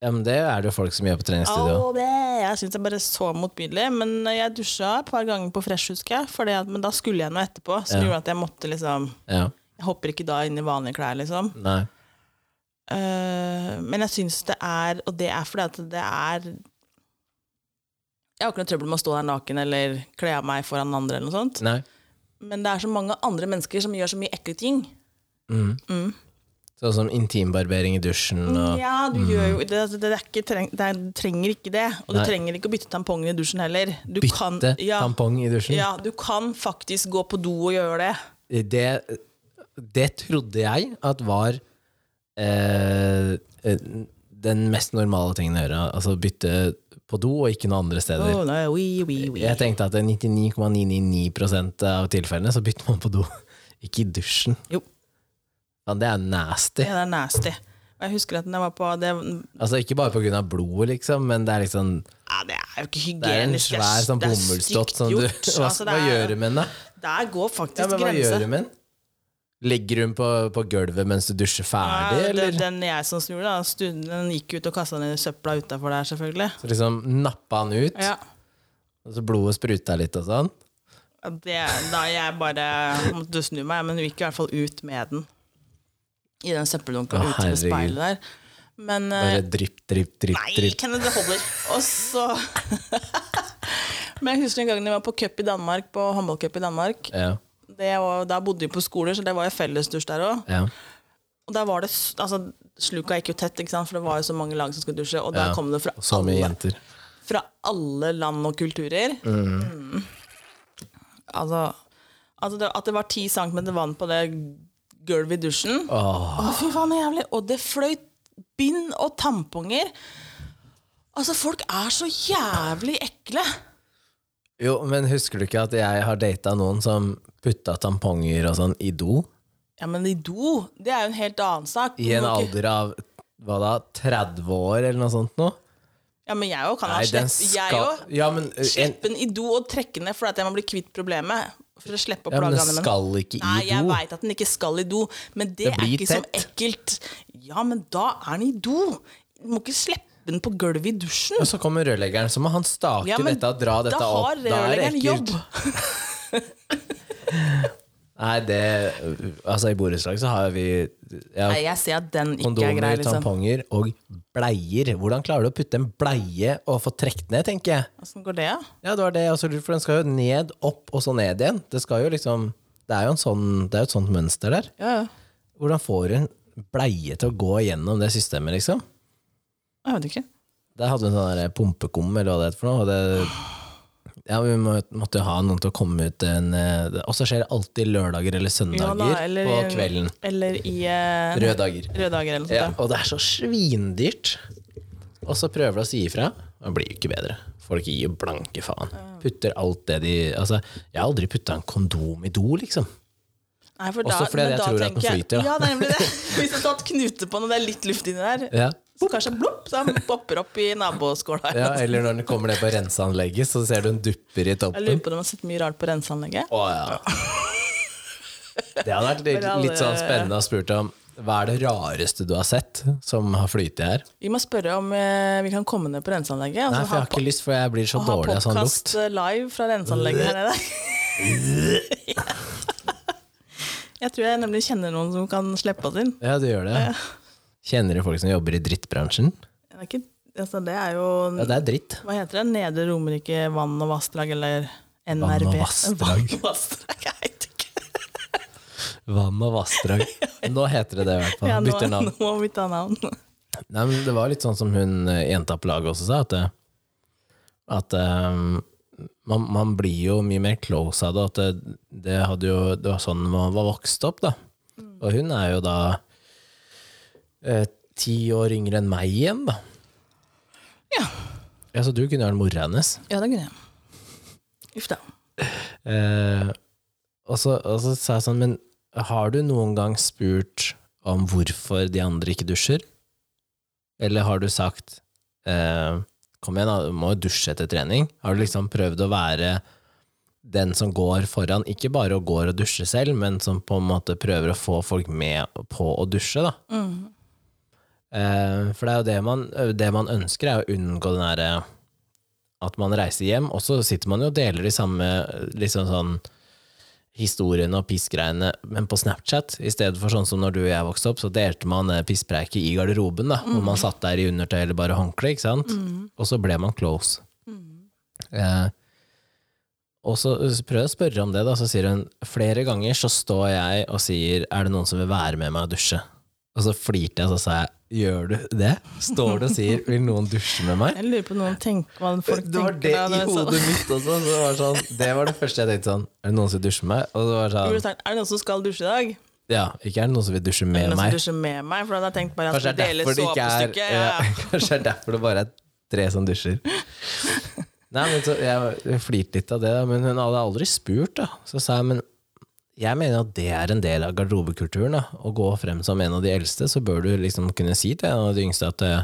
A: Ja, men det er det jo folk som gjør på treningsstudio.
B: Au, det, jeg syns det bare så motbydelig. Men jeg dusja et par ganger på Fresh, husker jeg. Fordi at, men da skulle jeg noe etterpå, som gjorde at jeg måtte liksom
A: Ja.
B: Jeg hopper ikke da inn i vanlige klær, liksom.
A: Nei.
B: Eh, men jeg syns det er Og det er fordi at det er Jeg har ikke noe trøbbel med å stå der naken eller kle av meg foran andre, eller noe sånt.
A: Nei.
B: Men det er så mange andre mennesker som gjør så mye ekle ting.
A: Mm. Sånn som intimbarbering i dusjen og
B: Mm, Ja, du gjør jo det, altså, det, er ikke treng, det er, Du trenger ikke det. Og
A: mm. Nei.
B: du trenger ikke å bytte tampongen i dusjen heller. Du
A: bytte
B: kan, ja,
A: tampong i dusjen.
B: ja, du kan faktisk gå på do og gjøre det.
A: det, det trodde jeg at var eh, eh, den mest normale tingen å gjøre. Altså bytte på do og ikke noen andre steder.
B: Å, Oh, nei, oui, oui, oui.
A: Jeg tenkte at i 99,999 av tilfellene så bytter man på do. Ikke i dusjen.
B: Jo,
A: Ja, det er nasty.
B: det er nasty. Og jeg husker at når jeg var på det,
A: Altså Ikke bare pga. blodet, liksom, men det er liksom
B: ja, det er jo ikke
A: Det er en
B: hygienisk.
A: svær sånn
B: det er
A: bomullsdott
B: stygt
A: som du
B: gjort.
A: Hva
B: Altså,
A: skal
B: det
A: man
B: er-
A: gjøre med den, da?
B: Der går faktisk
A: Ja, men hva
B: grensa.
A: gjør du med den? Legger hun på, på gulvet mens du dusjer ferdig,
B: Ja,
A: eller?
B: den, den jeg som snur, da, stunden, den gikk ut og kasta den i søpla utafor der, selvfølgelig.
A: Så liksom nappa han ut,
B: Ja.
A: og så blodet spruta litt og sånn.
B: Det, da jeg bare måtte snu meg, men hun gikk i hvert fall ut med den. I den
A: Å,
B: søppeldunken ute ved
A: herregud.
B: speilet der. Men eh,
A: Bare drypp, drypp, drypp,
B: Nei,
A: drypp.
B: Kenneth, det holder. Og så Men jeg husker en gang jeg var på cup i Danmark, på håndballcup i Danmark.
A: Ja,
B: Det var, da bodde vi på skoler, så det var jo fellesdusj der òg.
A: ja.
B: Og der var det s- altså, Sluka gikk jo tett, ikke sant? for det var jo så mange lag som skulle dusje. Og der
A: Ja.
B: kom det fra
A: Og så mye
B: alle,
A: jenter.
B: fra alle land og kulturer. Mm. Altså, altså det, At det var ti centimeter vann på det gulvet i dusjen.
A: Åh,
B: Å, fy faen, det er jævlig. Og det fløyt bind og tamponger. Altså, folk er så jævlig ekle.
A: Jo, men husker du ikke at jeg har data noen som putta tamponger og sånn i do?
B: Ja, men i do, det er jo en helt annen sak.
A: I en
B: Du må ikke-
A: alder av hva da, 30 år eller noe sånt noe?
B: Ja, men jeg jo kan ha
A: Nei, den
B: slepp. Jeg
A: skal
B: jo
A: Ja, men uh, en,
B: slippe den i do og trekke ned fordi at jeg må bli kvitt problemet. For å slippe å
A: ja, men
B: plage
A: den
B: andre mennesker.
A: skal ikke
B: Nei,
A: i
B: jeg
A: do.
B: veit at den ikke skal i do, men det,
A: Det
B: er
A: blir
B: ikke så ekkelt. Ja, men da er den i do. Du må ikke slippe den på gulvet i dusjen.
A: Og så kommer rørleggeren, så må han stake
B: Ja, men
A: dette og dra dette
B: da har
A: opp. Da er det
B: rørleggeren
A: ekkelt.
B: jobb.
A: Nei, det Altså, i borettslag så har vi ja,
B: Nei, jeg ser at den ikke er grei,
A: kondomer,
B: liksom.
A: tamponger og bleier. Hvordan klarer du å putte en bleie og få trukket ned, tenker jeg.
B: Åssen går det, da?
A: Ja, det var det jeg også lurte, for den skal jo ned, opp og så ned igjen. Det skal jo liksom Det er jo en sånn, det er jo et sånt mønster der.
B: Ja, ja.
A: Hvordan får du en bleie til å gå gjennom det systemet, liksom?
B: Jeg vet ikke.
A: Der hadde vi en sånn der pumpekum, eller hva det heter for noe. Og det, ja, vi må, måtte jo ha noen til å komme ut en eh, det- Og så skjer det alltid lørdager eller
B: Ja,
A: søndager
B: da, eller-
A: på kvelden.
B: Eller i eh,
A: Røde dager.
B: røde dager eller noe
A: Ja,
B: sånt.
A: og det er så svindyrt. Og så prøver du å si ifra. Det blir jo ikke bedre. Folk gir jo blanke faen. Putter alt det de Altså, jeg har aldri putta en kondom i do, liksom.
B: Ja. Nei, for
A: Også fordi
B: men
A: jeg
B: da
A: tror at den
B: tenker jeg-
A: flyter, da.
B: Ja, det er nemlig det. Hvis du har tatt knute på den, og det er litt luft inni der,
A: Ja.
B: så kanskje blopp, så den popper opp i naboskåla.
A: ja eller når det kommer ned på renseanlegget, så ser du en dupper i
B: Jeg
A: toppen.
B: lurer på om de har sett mye rart på renseanlegget.
A: Å, ja. Det hadde vært litt, litt sånn spennende å spurt om hva er det rareste du har sett som har flytet her?
B: Vi må spørre om eh, vi kan komme ned på renseanlegget. Og
A: Nei, for jeg
B: så ha,
A: har ikke lyst, for jeg blir så
B: po- ha
A: dårlig av sånn lukt.
B: podcast eh, live fra renseanlegget her nede. Jeg tror jeg nemlig kjenner noen som kan slippe oss inn.
A: Ja, du gjør det. Kjenner du folk som jobber i drittbransjen?
B: Det er, ikke, altså, det er jo
A: Ja, det er dritt.
B: Hva heter det? Nedre Romerike vann og vassdrag, eller
A: Vann
B: NRB?
A: og vassdrag.
B: Vann og vassdrag, jeg vet ikke.
A: Vann og vassdrag. Nå heter det det i hvert fall.
B: Ja, nå,
A: Bytter navn.
B: nå må vi bytte navn.
A: Nei, men det var litt sånn som hun eh, jenta på laget også sa, at, eh, at eh, man, man blir jo mye mer close av det. At det, det, hadde jo, det var sånn man var vokst opp, da.
B: Mm.
A: Og hun er jo da eh, ti år yngre enn meg igjen, da.
B: Ja.
A: Ja, Så du kunne vært mora hennes.
B: Ja, det kunne jeg. Uff da.
A: Eh, og, så, og så sa jeg sånn, men har du noen gang spurt om hvorfor de andre ikke dusjer? Eller har du sagt eh, Kom igjen, da, du må jo dusje etter trening. Har du liksom prøvd å være den som går foran, ikke bare og går og dusjer
B: Mm.
A: selv, men som på en måte prøver å få folk med på å dusje, da? Eh, for det er jo det man, det man ønsker, er å unngå den derre at man reiser hjem, og så sitter man jo og deler de samme liksom sånn historiene og pissgreiene, men på Snapchat, i stedet for sånn som når du og jeg vokste opp, så delte man eh, pisspreiket i garderoben, da, hvor man satt der i undertøy eller bare håndkle, ikke sant? Og så ble man close. Eh, og så prøver jeg å spørre om det, da, så sier hun flere ganger så står jeg og sier er det noen som vil være med meg og dusje? Og så flirte jeg, og så sa jeg gjør du det? Står du og sier vil noen dusje med meg?
B: Jeg lurer på noen tenker, hva folk
A: Det var det
B: tenker da,
A: i
B: når jeg så-
A: hodet mitt også. Så det, var sånn, det var det første jeg tenkte sånn Er det noen som vil dusje med meg? Og det var
B: Jeg burde
A: sånn,
B: sagt, Er det noen som skal dusje i dag?
A: ja, ikke er det noen som vil dusje
B: Er det
A: med
B: noen som
A: meg?
B: dusjer med meg? For da hadde jeg tenkt bare at
A: Kanskje
B: jeg
A: det er
B: deler
A: derfor det ikke er
B: såpestykket.
A: ja,
B: Ja.
A: Kanskje det er derfor det bare er tre som dusjer. Nei, men så, Jeg flirte litt av det, da, men hun hadde aldri spurt. da Så sa jeg men jeg mener at det er en del av garderobekulturen. da Å gå frem som en av de eldste, så bør du liksom kunne si til en av de yngste at eh,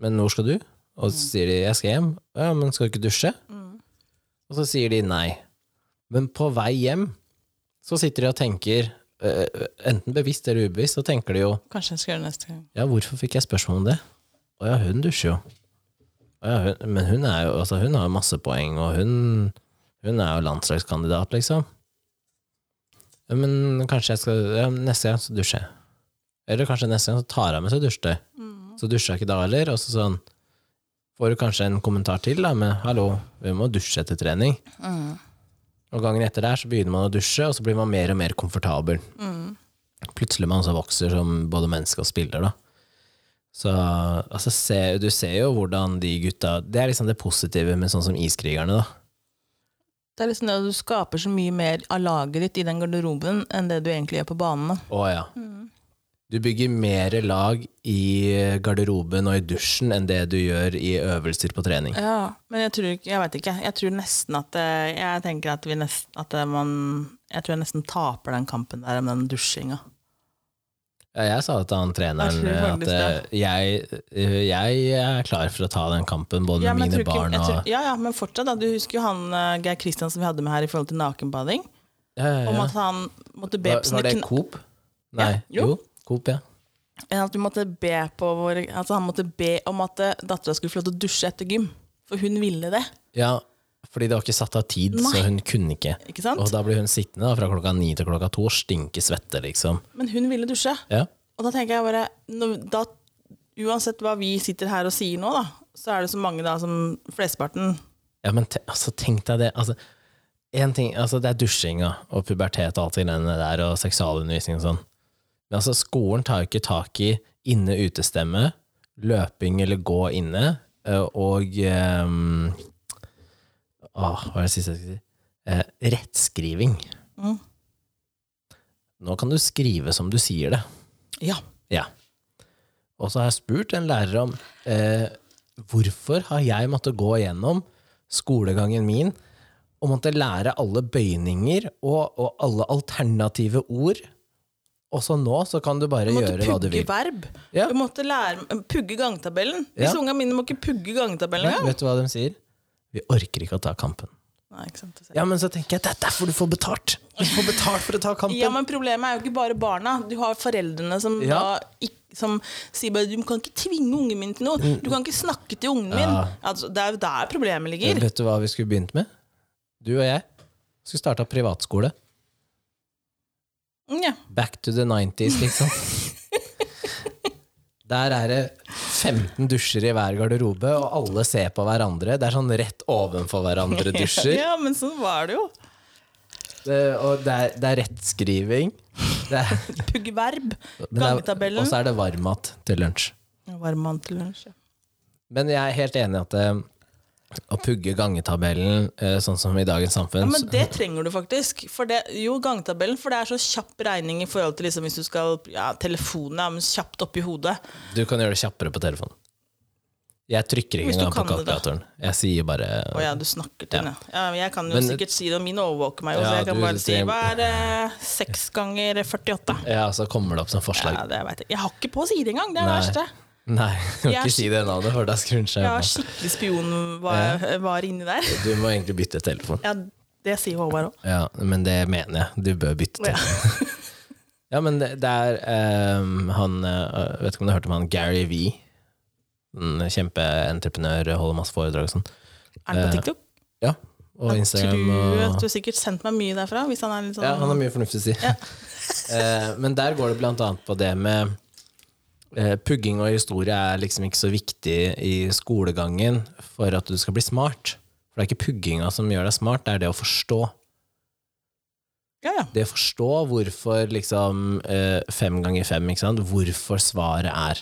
A: Men hvor skal du? Og så sier de jeg skal hjem. Ja, men skal du ikke dusje? Og så sier de nei. Men på vei hjem så sitter de og tenker, eh, enten bevisst eller ubevisst, så tenker de jo
B: Kanskje jeg skal gjøre det neste gang.
A: ja, hvorfor fikk jeg spørsmål om det? Å ja, hun dusjer jo. Å ja, hun, men hun, er jo, altså, hun har jo masse poeng, og hun, hun er jo landslagskandidat, liksom. Ja, Men kanskje jeg skal ja, Neste gang så dusjer jeg. Eller kanskje neste gang så tar jeg med seg dusjetøy. Så dusjer jeg ikke da heller. Og så sånn får du kanskje en kommentar til da, med 'hallo, vi må dusje etter trening'. Og gangen etter der så begynner man å dusje, og så blir man mer og mer komfortabel. Plutselig er man også vokser som både menneske og spiller, da. Så altså, se, du ser jo hvordan de gutta Det er liksom det positive med sånn som iskrigerne, da.
B: Det er liksom det at du skaper så mye mer av laget ditt i den garderoben enn det du egentlig gjør på banen. da.
A: Å ja. Du bygger mer lag i garderoben og i dusjen enn det du gjør i øvelser på trening.
B: Ja, men jeg tror ikke, jeg vet ikke. Jeg tror nesten at eh, Jeg tenker at vi nesten at eh, man Jeg tror jeg nesten taper den kampen der om den dusjinga.
A: Ja, jeg sa til han treneren
B: Jeg tror
A: at
B: faktisk
A: eh, jeg, eh, jeg er klar for å ta den kampen, både
B: Ja,
A: med
B: men
A: mine
B: jeg tror ikke-
A: barn
B: jeg
A: og
B: tror- Ja, ja, men fortsatt, da. Du husker jo han eh, Geir Kristian som vi hadde med her i forhold til nakenbading?
A: Ja, ja, ja.
B: Om at han måtte be
A: Var,
B: på
A: var
B: sine
A: det
B: kn-
A: Coop? Nei.
B: jo.
A: jo. Coop, ja.
B: At vi måtte be på våre, altså han måtte be om at dattera skulle få lov til å dusje etter gym. For hun ville det.
A: Ja, fordi det var ikke satt av tid, så
B: Nei.
A: hun kunne ikke.
B: ikke sant?
A: Og da ble hun sittende da, fra klokka ni til klokka to og stinke svette, liksom.
B: Men hun ville dusje.
A: Ja.
B: Og da tenker jeg bare når- da, Uansett hva vi sitter her og sier nå, da, så er det så mange da som flesteparten
A: Ja, men te, altså, tenk deg det. Altså, en ting, altså, det er dusjinga og pubertet og alt det greiene der, og seksualundervisning og sånn. Men altså, skolen tar jo ikke tak i inne-utestemme, løping eller gå inne, eh, og ehm, Åh, hva var det siste jeg skulle si? Eh, rettskriving.
B: Mm.
A: Nå kan du skrive som du sier det.
B: Ja.
A: Ja. Og så har jeg spurt en lærer om eh, hvorfor har jeg måttet gå gjennom skolegangen min og måtte lære alle bøyninger og, og alle alternative ord. Og så nå så kan du bare
B: Du måtte
A: gjøre hva du
B: pugge
A: vil.
B: verb.
A: Ja.
B: Du måtte lære, pugge gangtabellen.
A: Ja.
B: Disse ungene mine må ikke pugge gangtabellen
A: Nei,
B: engang.
A: vet du hva de sier? Vi orker ikke å ta kampen.
B: Nei, ikke sant.
A: Ja, men så tenker jeg, det er derfor du får betalt! Du får betalt for å ta kampen!
B: Ja, men problemet er jo ikke bare barna. Du har foreldrene som
A: Ja.
B: da ikk- som sier bare 'du kan ikke tvinge ungen min til noe',
A: Mm.
B: 'du kan ikke snakke til ungen min'. Altså, det er jo der problemet ligger.
A: Vet du hva vi skulle begynt med? Du og jeg skulle starta privatskole.
B: Mm, Ja.
A: Back to the 90s, liksom. Der er det 15 dusjer i hver garderobe, og alle ser på hverandre. Det er sånn rett ovenfor hverandre dusjer.
B: ja, men sånn var det jo.
A: Det, og det er, det er rettskriving. Det er,
B: Pugge verb.
A: men det er-
B: Gangetabellen.
A: Og så er det varmmat til lunsj.
B: Varm mann til lunsj. ja.
A: Men jeg er helt enig i at eh, å pugge gangetabellen eh, sånn som i dagens samfunn
B: Ja, men det trenger du faktisk. For det, jo, gangtabellen, for det er så kjapp regning i forhold til liksom, hvis du skal ja, Telefonen er men kjapt oppi hodet.
A: Du kan gjøre det kjappere på telefonen. Jeg trykker ikke
B: Hvis du
A: engang på
B: kan det, da.
A: kalkulatoren. Jeg sier bare
B: Å ja, du snakker til henne. Ja. men jeg kan jo
A: Men-
B: sikkert si det, og mine overvåker meg jo,
A: Ja,
B: så jeg kan
A: du-
B: bare si
A: det-
B: hva er eh, seks ganger 48?
A: Ja, så kommer det opp som forslag.
B: Ja, det vet jeg. jeg har ikke på å si det engang, det er det
A: Nei.
B: verste.
A: Nei, du må
B: Jeg er
A: ikke si det navnet, for da skrur den seg
B: Jeg
A: unna.
B: har skikkelig spion var, var inni der.
A: Du må egentlig bytte telefon.
B: Ja, det sier Håvard òg.
A: Ja, men det mener jeg. Du bør bytte
B: Ja.
A: telefon. Ja, men det, det er ehm, han eh, Vet ikke om du har hørt om han Gary V? En kjempeentreprenør, holder masse foredrag og sånn.
B: Er den
A: Eh,
B: på TikTok?
A: Ja, og
B: Jeg
A: Instagram
B: tror at
A: og
B: du har sikkert sendt meg mye derfra. Hvis han er litt sånn
A: Ja, han har mye fornuftig å si. Eh, Men der går det blant annet på det med eh, Pugging og historie er liksom ikke så viktig i skolegangen for at du skal bli smart. For det er ikke pugginga som gjør deg smart, det er det å forstå.
B: ja, ja.
A: Det å forstå hvorfor liksom eh, fem ganger fem, ikke sant? hvorfor svaret er.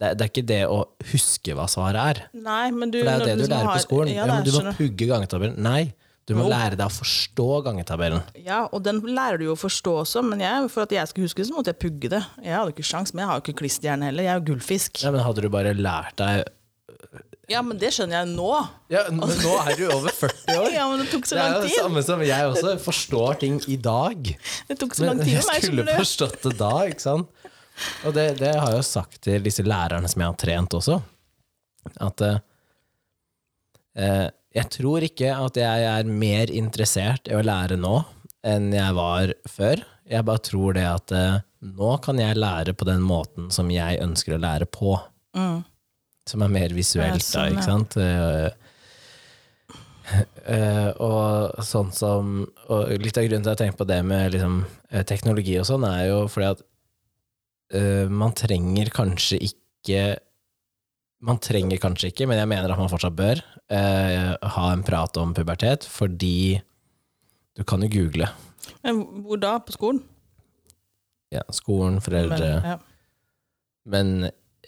A: Det, er- det er ikke det å huske hva svaret er.
B: Nei, men du
A: For det er jo det
B: når
A: du
B: liksom
A: lærer
B: har-
A: på skolen.
B: Ja,
A: Ja, men
B: det
A: du
B: er,
A: må
B: skjønner.
A: pugge gangetabellen. Nei, du må
B: Jo.
A: lære deg å forstå gangetabellen.
B: ja, og den lærer du jo å forstå også, men jeg, for at jeg skulle huske det, så måtte jeg pugge det. Jeg hadde ikke sjans, men jeg har jo ikke klisterhjerne heller. Jeg er jo gullfisk.
A: Ja, men hadde du bare lært deg
B: Ja, men det skjønner jeg nå.
A: Ja, men nå er du jo over 40 år.
B: Ja, men det tok så
A: Det er
B: lang
A: jo det
B: tid.
A: samme som jeg også forstår ting i dag.
B: Det tok så lang
A: Men
B: tid
A: jeg
B: for meg,
A: skulle
B: skjønner du.
A: forstått det da, ikke sant? Og det, det har jeg jo sagt til disse lærerne som jeg har trent også, at eh, eh, jeg tror ikke at jeg er mer interessert i å lære nå enn jeg var før. Jeg bare tror det at eh, nå kan jeg lære på den måten som jeg ønsker å lære på.
B: Mm.
A: Som er mer visuelt,
B: Ja,
A: da,
B: sånn, ja.
A: ikke sant? Eh, eh, og sånn som og Litt av grunnen til at jeg tenker på det med liksom, eh, teknologi og sånn, er jo fordi at eh, man trenger kanskje ikke Man trenger kanskje ikke, men jeg mener at man fortsatt bør, eh, ha en prat om pubertet, fordi du kan jo google.
B: Men hvor da? På skolen?
A: Ja, skolen, foreldre
B: Men, ja.
A: Men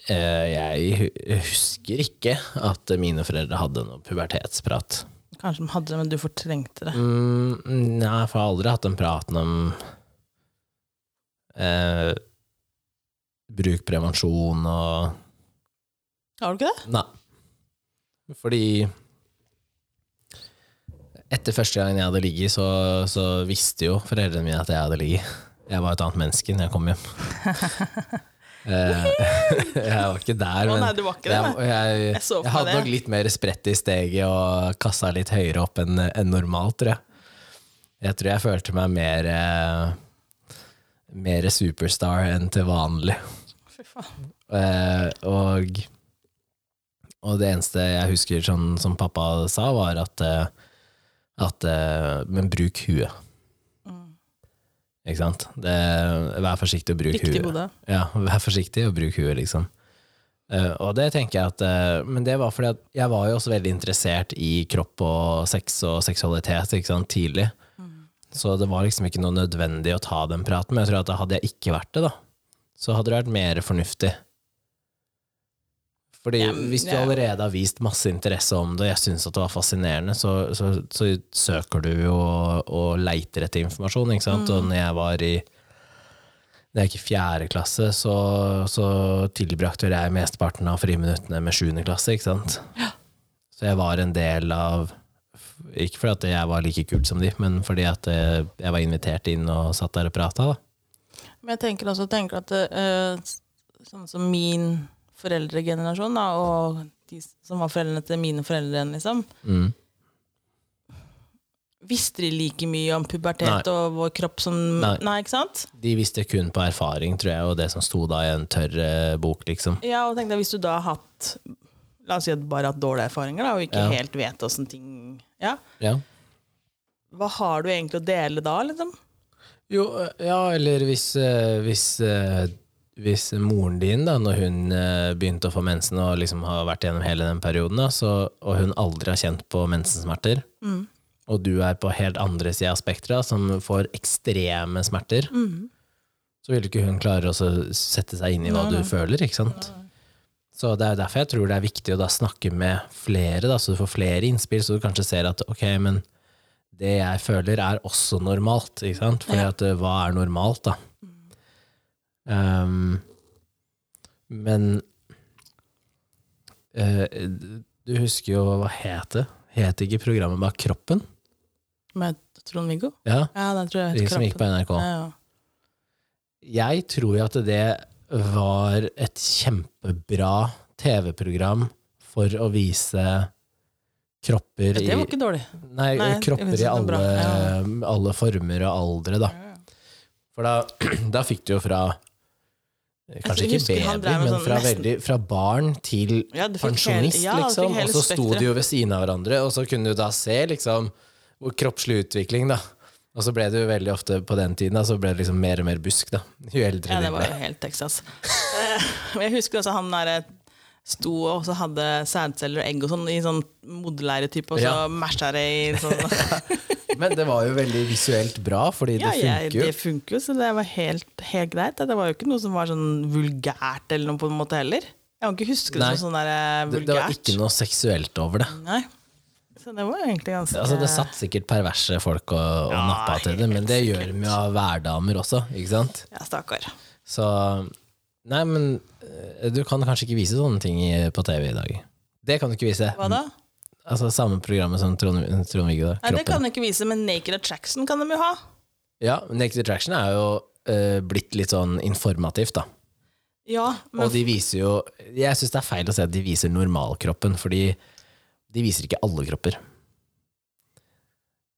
A: eh, jeg hu- husker ikke at mine foreldre hadde noe pubertetsprat.
B: Kanskje de hadde det, men du fortrengte det.
A: Mm, nei, for jeg har aldri hatt den praten om eh, bruk prevensjon og Mm.
B: Har du ikke det?
A: Nei. Fordi etter første gangen jeg hadde ligget, så, så visste jo foreldrene mine at jeg hadde ligget. Jeg var et annet menneske når jeg kom hjem. Eh, jeg var ikke der,
B: Å
A: men
B: nei, du var ikke det.
A: jeg,
B: nei.
A: jeg, jeg,
B: Jeg så for meg
A: hadde
B: det.
A: nok litt mer spredt i steget og kassa litt høyere opp enn enn normalt, tror jeg. Jeg tror jeg følte meg mer eh, Mer superstar enn til vanlig.
B: Fy faen.
A: Eh, og, og det eneste jeg husker sånn, som pappa sa, var at, eh, at eh, Men bruk huet.
B: Mm.
A: Ikke sant? Det, vær forsiktig og bruk
B: Riktig
A: huet.
B: Bodø.
A: Ja, vær forsiktig og bruk huet, liksom. Eh, og det tenker jeg at eh, Men det var fordi at jeg var jo også veldig interessert i kropp og sex og seksualitet ikke sant, tidlig.
B: Mm.
A: Så det var liksom ikke noe nødvendig å ta den praten. Men jeg tror at da hadde jeg ikke vært det, da, så hadde det vært mer fornuftig. Fordi
B: Ja, men
A: hvis du
B: det er jo-
A: allerede har vist masse interesse om det, og jeg syns at det var fascinerende, så, så, så søker du og, og leiter etter informasjon, ikke sant. Og når jeg var i når jeg gikk i fjerde klasse, så, så tilbrakte vel jeg mesteparten av friminuttene med sjuende klasse, ikke sant? Så jeg var en del av Ikke fordi at jeg var like kul som de, men fordi at eh, jeg var invitert inn og satt der og prata, da.
B: Men jeg tenker også tenker at eh, s- sånn som min foreldregenerasjon, da, og de som var foreldrene til mine foreldre, igjen, liksom,
A: Mm.
B: visste de like mye om pubertet
A: Nei.
B: og vår kropp som
A: Nei.
B: Nei. ikke sant?
A: De visste kun på erfaring, tror jeg, og det som sto da i en tørr eh, bok, liksom.
B: Ja, og tenkte jeg, hvis du da har hatt La oss si at bare hatt dårlige erfaringer, da, og ikke
A: Ja.
B: helt vet åssen ting Ja,
A: Ja.
B: hva har du egentlig å dele da, liksom?
A: Jo, eh, ja, eller hvis, eh, hvis, eh, hvis moren din, da, når hun eh, begynte å få mensen og liksom har vært gjennom hele den perioden, da, så, og hun aldri har kjent på mensensmerter,
B: Mm.
A: og du er på helt andre sida av spekteret, som får ekstreme smerter, så vil ikke hun klare å så sette seg inn i hva
B: Nei,
A: du
B: nei.
A: føler, ikke sant? Så det er derfor jeg tror det er viktig å da snakke med flere, da, så du får flere innspill, så du kanskje ser at ok, men det jeg føler er også normalt, ikke sant? Fordi
B: Ja.
A: at eh, hva er normalt, da? Um, men eh, du husker jo hva het det? Het ikke programmet bare Kroppen?
B: Med Trond-Viggo?
A: Ja,
B: Ja, den tror jeg
A: de
B: vet
A: som gikk på NRK.
B: Ja, ja.
A: Jeg tror jo at det var et kjempebra TV-program for å vise kropper
B: Ja,
A: i
B: det var ikke dårlig.
A: Nei,
B: Nei, det
A: kropper
B: finnes
A: i
B: noe bra,
A: alle, alle former og aldre, da. For da, da fikk du jo fra eh, Kanskje
B: Jeg
A: ikke
B: husker han
A: baby,
B: drev med
A: men
B: sånn
A: fra,
B: nesten-
A: veldig, fra barn til
B: Ja, du fikk
A: pensjonist,
B: hele- ja, du fikk
A: liksom.
B: hele
A: Og så sto
B: spektret.
A: de jo ved siden av hverandre, og så kunne du da se liksom hvor kroppslig utvikling, da. Og så ble det jo veldig ofte på den tiden da, så ble det liksom mer og mer busk, da. Jo eldre
B: Ja,
A: de
B: det var
A: ble.
B: jo helt Texas. Eh, Men jeg husker også han der eh, sto og også hadde sædceller og egg og sånn i sånn modelleiretype, og så
A: Ja.
B: masha det i sånn
A: Men det var jo veldig visuelt bra, fordi
B: Ja,
A: det
B: jeg,
A: funker jo.
B: det funker jo, så det var helt, helt greit. Det var jo ikke noe som var sånn vulgært eller noe på en måte heller. Jeg kan ikke huske det
A: Nei.
B: som sånn der eh,
A: Det, det var
B: vulgært.
A: ikke noe seksuelt over det.
B: Nei. Så det var jo egentlig ganske
A: Altså, det satt sikkert perverse folk og, og
B: Ja,
A: nappa til det, men det
B: helt
A: gjør de jo av hverdamer også, ikke sant?
B: Ja, stakkar.
A: Så Nei, men eh, du kan kanskje ikke vise sånne ting i- på TV i dag. Det kan du ikke vise.
B: Hva da?
A: Altså Samme programmet som Trond, Trond-Viggo. da,
B: Nei, det
A: Kroppen.
B: kan du ikke vise, men Naked Attraction kan de jo ha.
A: Ja, Naked Attraction er jo eh, blitt litt sånn informativt, da.
B: Ja, men
A: Og de viser jo Jeg syns det er feil å si at de viser normalkroppen, fordi de viser ikke alle kropper.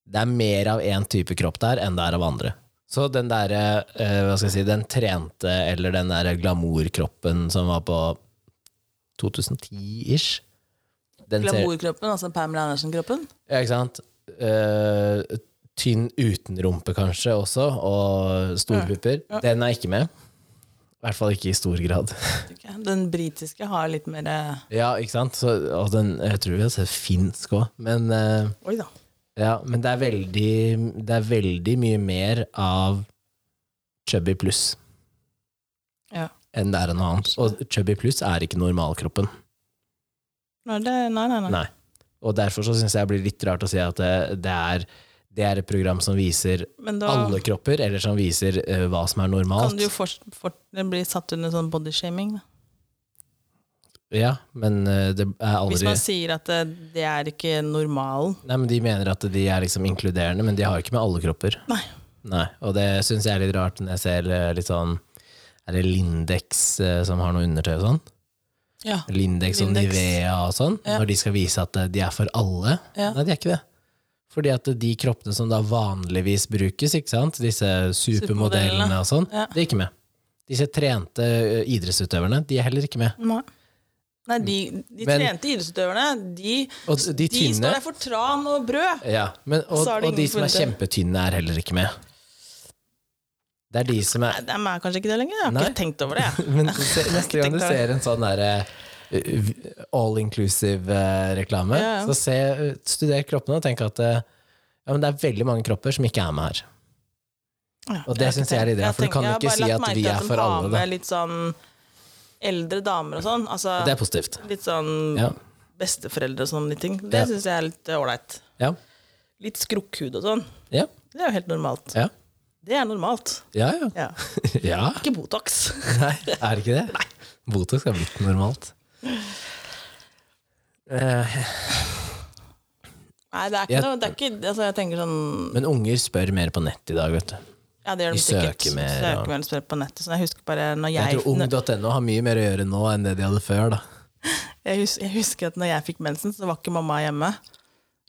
A: Det er mer av én type kropp der enn det er av andre. Så den derre eh, Hva skal jeg si Den trente, eller den derre glamourkroppen som var på 2010-ish Den ser-
B: glamourkroppen, altså Pamela Andersen-kroppen
A: Ja, ikke sant? Eh, tynn uten rumpe, kanskje, også, og store pupper. Den er ikke med. I hvert fall ikke i stor grad.
B: Ok, Den britiske har litt mer eh,
A: Ja, ikke sant? Så, og den, jeg tror vi har sett finsk òg. Men, eh,
B: Oi da.
A: ja, men det, er veldig, det er veldig mye mer av chubby pluss
B: Ja.
A: enn det er av noe annet. Og chubby pluss er ikke normalkroppen.
B: Nei, det, nei, nei, nei.
A: Nei. Og derfor så syns jeg det blir litt rart å si at det, det, er, det er et program som viser
B: Men da
A: alle kropper, eller som viser eh, hva som er normalt.
B: kan du jo fort, fort bli satt under sånn bodyshaming. da.
A: Ja, men eh, det er
B: Hvis
A: aldri
B: man sier at eh, det er ikke normalen.
A: Nei, men De mener at de er liksom inkluderende, men de har jo ikke med alle kropper.
B: Nei.
A: Nei, Og det syns jeg er litt rart når jeg ser eh, litt sånn Er det Lindex eh, som har noe undertøy og sånn?
B: Ja.
A: Lindex og
B: Lindex.
A: Nivea og sånn,
B: Ja.
A: når de skal vise at eh, de er for alle.
B: Ja.
A: Nei, de er ikke det. Fordi at de kroppene som da vanligvis brukes, ikke sant? disse supermodellene
B: Supermodellene.
A: og sånn,
B: Ja.
A: de er ikke med. Disse trente eh, idrettsutøverne, de er heller ikke med.
B: Nei. Nei, de, de
A: Men-
B: trente idrettsutøverne, de,
A: Og de
B: de
A: tynne
B: står der for tran og brød!
A: Ja, men, og,
B: Så er det
A: og de
B: ingen
A: som er
B: forventning.
A: kjempetynne, er heller ikke med. Det er de som
B: Nei,
A: er
B: de er kanskje ikke det lenger. Jeg har
A: Nei.
B: ikke tenkt over det. jeg.
A: Men se, neste gang du
B: Tenk deg.
A: ser en sånn derre all inclusive-reklame,
B: Ja, ja.
A: så se, eh, studer kroppene og tenk at eh, ja, men det er veldig mange kropper som ikke er med her.
B: Ja,
A: Og det
B: har ikke
A: synes jeg er
B: tenkt-
A: ideen,
B: har
A: for du
B: tenkt-
A: kan
B: jeg har
A: ikke
B: bare
A: si
B: lagt
A: at
B: merke
A: vi
B: til
A: er
B: de
A: for
B: har
A: alle, da.
B: Med litt sånn eldre damer og sånn. Altså,
A: Det er positivt.
B: litt sånn
A: Ja.
B: besteforeldre og sånne ting. Det
A: Ja.
B: synes syns jeg er litt eh, ålreit.
A: Ja.
B: Litt skrukkhud og sånn.
A: Ja.
B: Det er jo helt normalt.
A: Ja.
B: Det er normalt.
A: Ja, ja.
B: Ja.
A: ja.
B: Ikke Botox.
A: Nei, er det ikke det? Nei. Botox er blitt normalt. Eh,
B: Nei, det er ikke
A: Jeg-
B: noe det er ikke, altså, Jeg tenker sånn
A: men unger spør mer på nett i dag, vet du.
B: Ja, det gjør de
A: De
B: sikkert.
A: søker mer,
B: søker
A: og-
B: mer og spør på nettet. Sånn, jeg husker bare når jeg
A: Jeg tror ung.no har mye mer å gjøre nå enn det de hadde før. da
B: jeg, hus, jeg husker at når jeg fikk mensen, så var ikke mamma hjemme.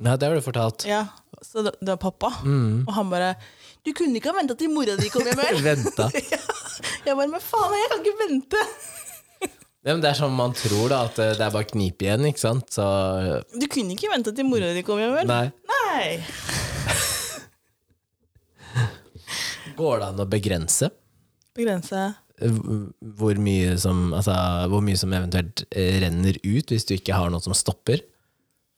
A: Nei, det har du fortalt.
B: Ja, Så det, det var pappa.
A: Mm.
B: Og han bare 'Du kunne ikke ha venta til mora di kom hjem?' eller?»
A: Venta.
B: jeg bare 'Men faen, jeg kan ikke vente'.
A: Ja, men det er sånn man tror, da, at eh, det er bare knip igjen, ikke sant? Så eh,
B: Du kunne ikke vente til mora di kom hjem, vel?
A: nei.
B: Nei.
A: Går det an å begrense
B: Begrense.
A: eh, hvor mye som, altså, hvor mye som eventuelt eh, renner ut, hvis du ikke har noe som stopper?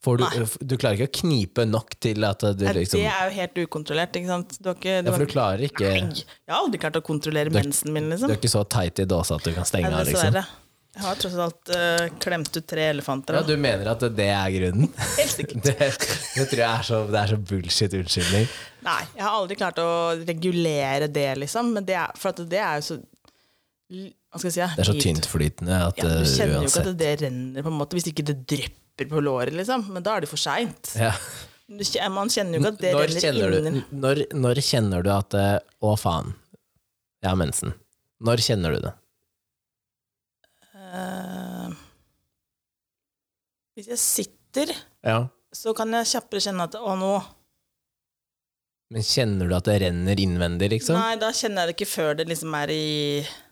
A: For du, eh,
B: Nei.
A: du klarer ikke å knipe nok til at du
B: Nei,
A: liksom
B: Det
A: Ja,
B: er jo helt ukontrollert, ikke sant? Du har ikke, du
A: for
B: har
A: du klarer ikke
B: ikke Jeg har aldri klart å kontrollere mensen min,
A: Du
B: liksom.
A: er ikke så tight i dåsa at du kan stenge
B: Nei,
A: av, liksom.
B: Dessverre. Jeg har tross alt eh, klemt ut tre elefanter.
A: Ja,
B: da.
A: du mener at det er grunnen?
B: Helt sikkert.
A: Det, det tror jeg er så, det er så bullshit unnskyldning.
B: Nei, jeg har aldri klart å regulere det, liksom. Men det er, for at det er jo så l- Hva skal jeg si? ja,
A: Det er så
B: lite-
A: tyntflytende at
B: Ja, du
A: eh,
B: kjenner jo ikke
A: uansett
B: at det renner, på en måte, hvis ikke det drypper på låret, liksom. Men da er det for seint.
A: ja.
B: Du kje- Man kjenner jo ikke at det
A: når,
B: renner
A: kjenner du,
B: innen
A: når, når kjenner du at eh, Å, faen, jeg har mensen. Når kjenner du det?
B: Eh, Hvis jeg sitter,
A: Ja.
B: så kan jeg kjappere kjenne at å, nå
A: Men kjenner du at det renner innvendig, liksom?
B: Nei, da kjenner jeg det ikke før det liksom er i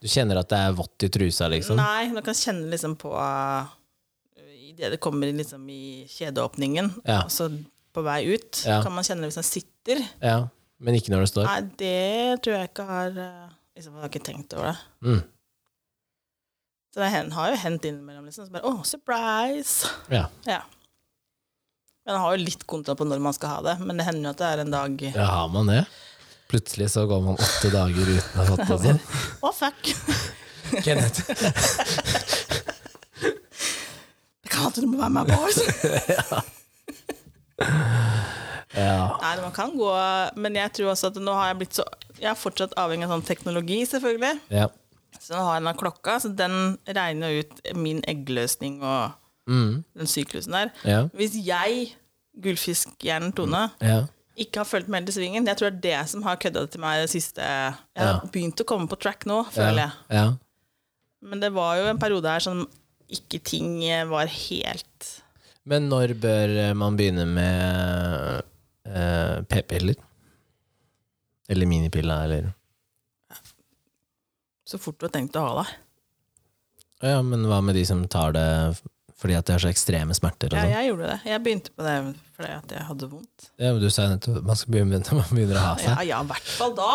A: Du kjenner at det er vått i trusa, liksom?
B: Nei, man kan kjenne liksom på eh, i det det kommer inn liksom i kjedeåpningen,
A: Ja.
B: og så på vei ut,
A: Ja.
B: kan man kjenne det hvis man sitter.
A: Ja. Men ikke når det står?
B: Nei, det tror jeg ikke har eh, liksom, Jeg har ikke tenkt over det.
A: Mm.
B: Så det hen- har jo hendt innimellom. Liksom, så bare, Å, surprise!
A: Ja.
B: Ja. Men jeg har jo litt kontroll på når man skal ha det. Men det hender jo at det er en dag
A: ja, har man det? Plutselig så går man åtte dager uten å ha fått det sånn.
B: Å, fuck!
A: Kenneth.
B: Det kan hende du må være med, boys!
A: Ja.
B: Nei, man kan gå Men jeg tror også at nå har jeg blitt så Jeg er fortsatt avhengig av sånn teknologi, selvfølgelig.
A: ja.
B: Så nå har jeg den her klokka, så den regner jo ut min eggløsning og
A: Mm.
B: den syklusen der.
A: Ja.
B: Hvis jeg, gullfiskhjernen Tone,
A: Ja.
B: ikke har fulgt med helt i svingen. Jeg tror det er det som har kødda det til meg det siste Jeg har
A: Ja.
B: begynt å komme på track nå,
A: Ja.
B: føler jeg.
A: ja.
B: Men det var jo en periode her som ikke ting eh, var helt
A: Men når bør eh, man begynne med eh, p-piller? Eller minipiller, eller
B: så fort du har tenkt å ha deg.
A: Ja, men hva med de som tar det f- fordi at de har så ekstreme smerter? Og
B: Ja,
A: sånn?
B: jeg gjorde det. Jeg begynte på det fordi at jeg hadde vondt.
A: Ja, men du sa jo nettopp at man skal begynne når man begynner å ha seg.
B: Ja, ja, i hvert fall da.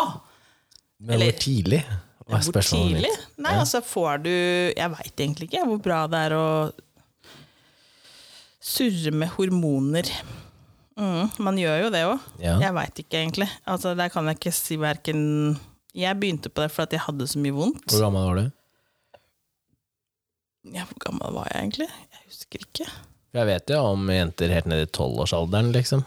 A: Men
B: eller-
A: hvor tidlig? Hva er
B: Hvor
A: spørsmålet
B: tidlig?
A: mitt?
B: Nei, altså får du Jeg veit egentlig ikke hvor bra det er å surre med hormoner. Mm, man gjør jo det òg.
A: Ja.
B: Jeg veit ikke, egentlig. Altså, der kan jeg ikke si hverken Jeg begynte på det fordi jeg hadde så mye vondt.
A: Hvor gammel var du?
B: Ja, hvor gammel var jeg egentlig? Jeg husker ikke.
A: For jeg vet jo om jenter helt ned i tolvårsalderen, liksom.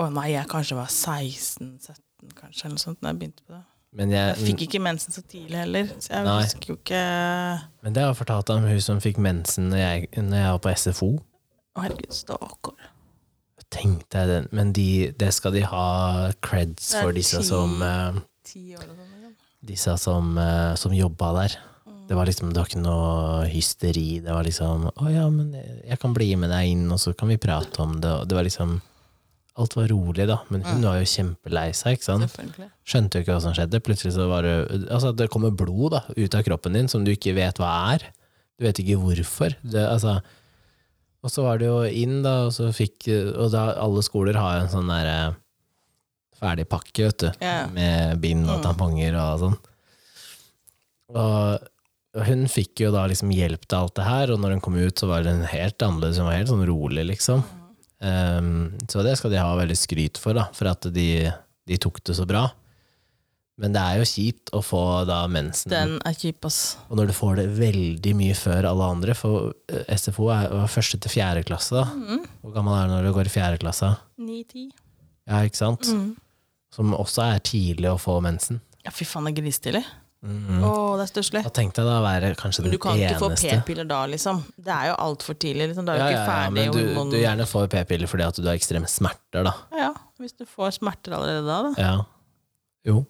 B: Å nei, jeg kanskje var 16-17, kanskje, eller noe sånt, da jeg begynte på det.
A: Men,
B: Jeg
A: jeg,
B: fikk ikke mensen så tidlig heller, så jeg
A: Eh, Nei.
B: husker jo ikke Å,
A: men det har jeg fortalt om hun som fikk mensen når jeg, når jeg var på SFO.
B: herregud, stakkar.
A: Tenkte jeg den. Men de, det skal de ha creds
B: Det er
A: for, disse
B: ti-
A: som, eh,
B: Ti år sånn, liksom. eller noe sånt.
A: disse som, eh, som jobba der. Det var liksom, det var ikke noe hysteri. Det var liksom 'Å ja, men jeg kan bli med deg inn, og så kan vi prate om det'. Og det var liksom Alt var rolig, da. Men hun var jo kjempelei seg, ikke sant?
B: Selvfølgelig.
A: Skjønte jo ikke hva som skjedde. Plutselig så var det Altså, det kommer blod da, ut av kroppen din som du ikke vet hva er. Du vet ikke hvorfor. Det, altså, og så var det jo inn, da, og så fikk Og da, alle skoler har jo en sånn derre ferdig pakke, vet du,
B: Ja.
A: med bind og tamponger og sånn. Og og hun fikk jo da liksom hjelp til alt det her, og når hun kom ut, så var hun helt annerledes. Hun var helt sånn rolig, liksom. Um, så det skal de ha veldig skryt for, da, for at de, de tok det så bra. Men det er jo kjipt å få da mensen.
B: Den er kjip, ass.
A: Og når du får det veldig mye før alle andre, for eh, SFO er var første til fjerde klasse, da.
B: Mm.
A: Hvor gammel er du når du går i fjerde klasse?
B: Ni-ti.
A: Ja, ikke sant?
B: Mm.
A: Som også er tidlig å få mensen.
B: Ja, fy faen, det er grisetidlig. Å, det er stusslig.
A: Da tenkte jeg da å være kanskje
B: Men
A: den
B: du kan ikke få
A: Mm. eneste.
B: p-piller da, liksom. Det er jo altfor tidlig. Liksom. Da er du
A: Ja, ja,
B: ikke
A: ja,
B: ferdig i
A: men du,
B: hormon-
A: du gjerne får p-piller fordi at du har ekstreme smerter, da.
B: Ja, ja. Hvis du får smerter allerede da, da.
A: Ja. Jo.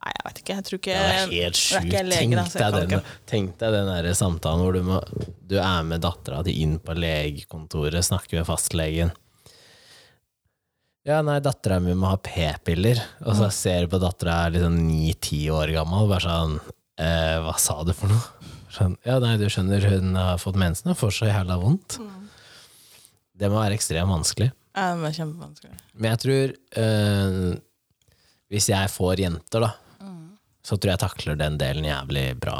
B: Nei, jeg vet ikke. Jeg tror
A: Ja,
B: ikke
A: det er helt
B: jeg er
A: sjukt.
B: ikke lege, da,
A: Tenk
B: så jeg
A: deg
B: kan
A: den, tenk deg den der samtalen hvor du, må, du er med dattera di inn på legekontoret, snakker med fastlegen. Ja, nei, dattera mi må ha p-piller. Og så ser du på dattera er liksom ni-ti år gammel, og bare sånn eh, Hva sa du for noe? Sånn, ja, nei, du skjønner, hun har fått mensen og får så jævla vondt.
B: Mm.
A: Det må være ekstremt vanskelig.
B: Ja, det er kjempevanskelig.
A: Men jeg tror eh, Hvis jeg får jenter, da,
B: Mm.
A: så tror jeg takler den delen jævlig bra.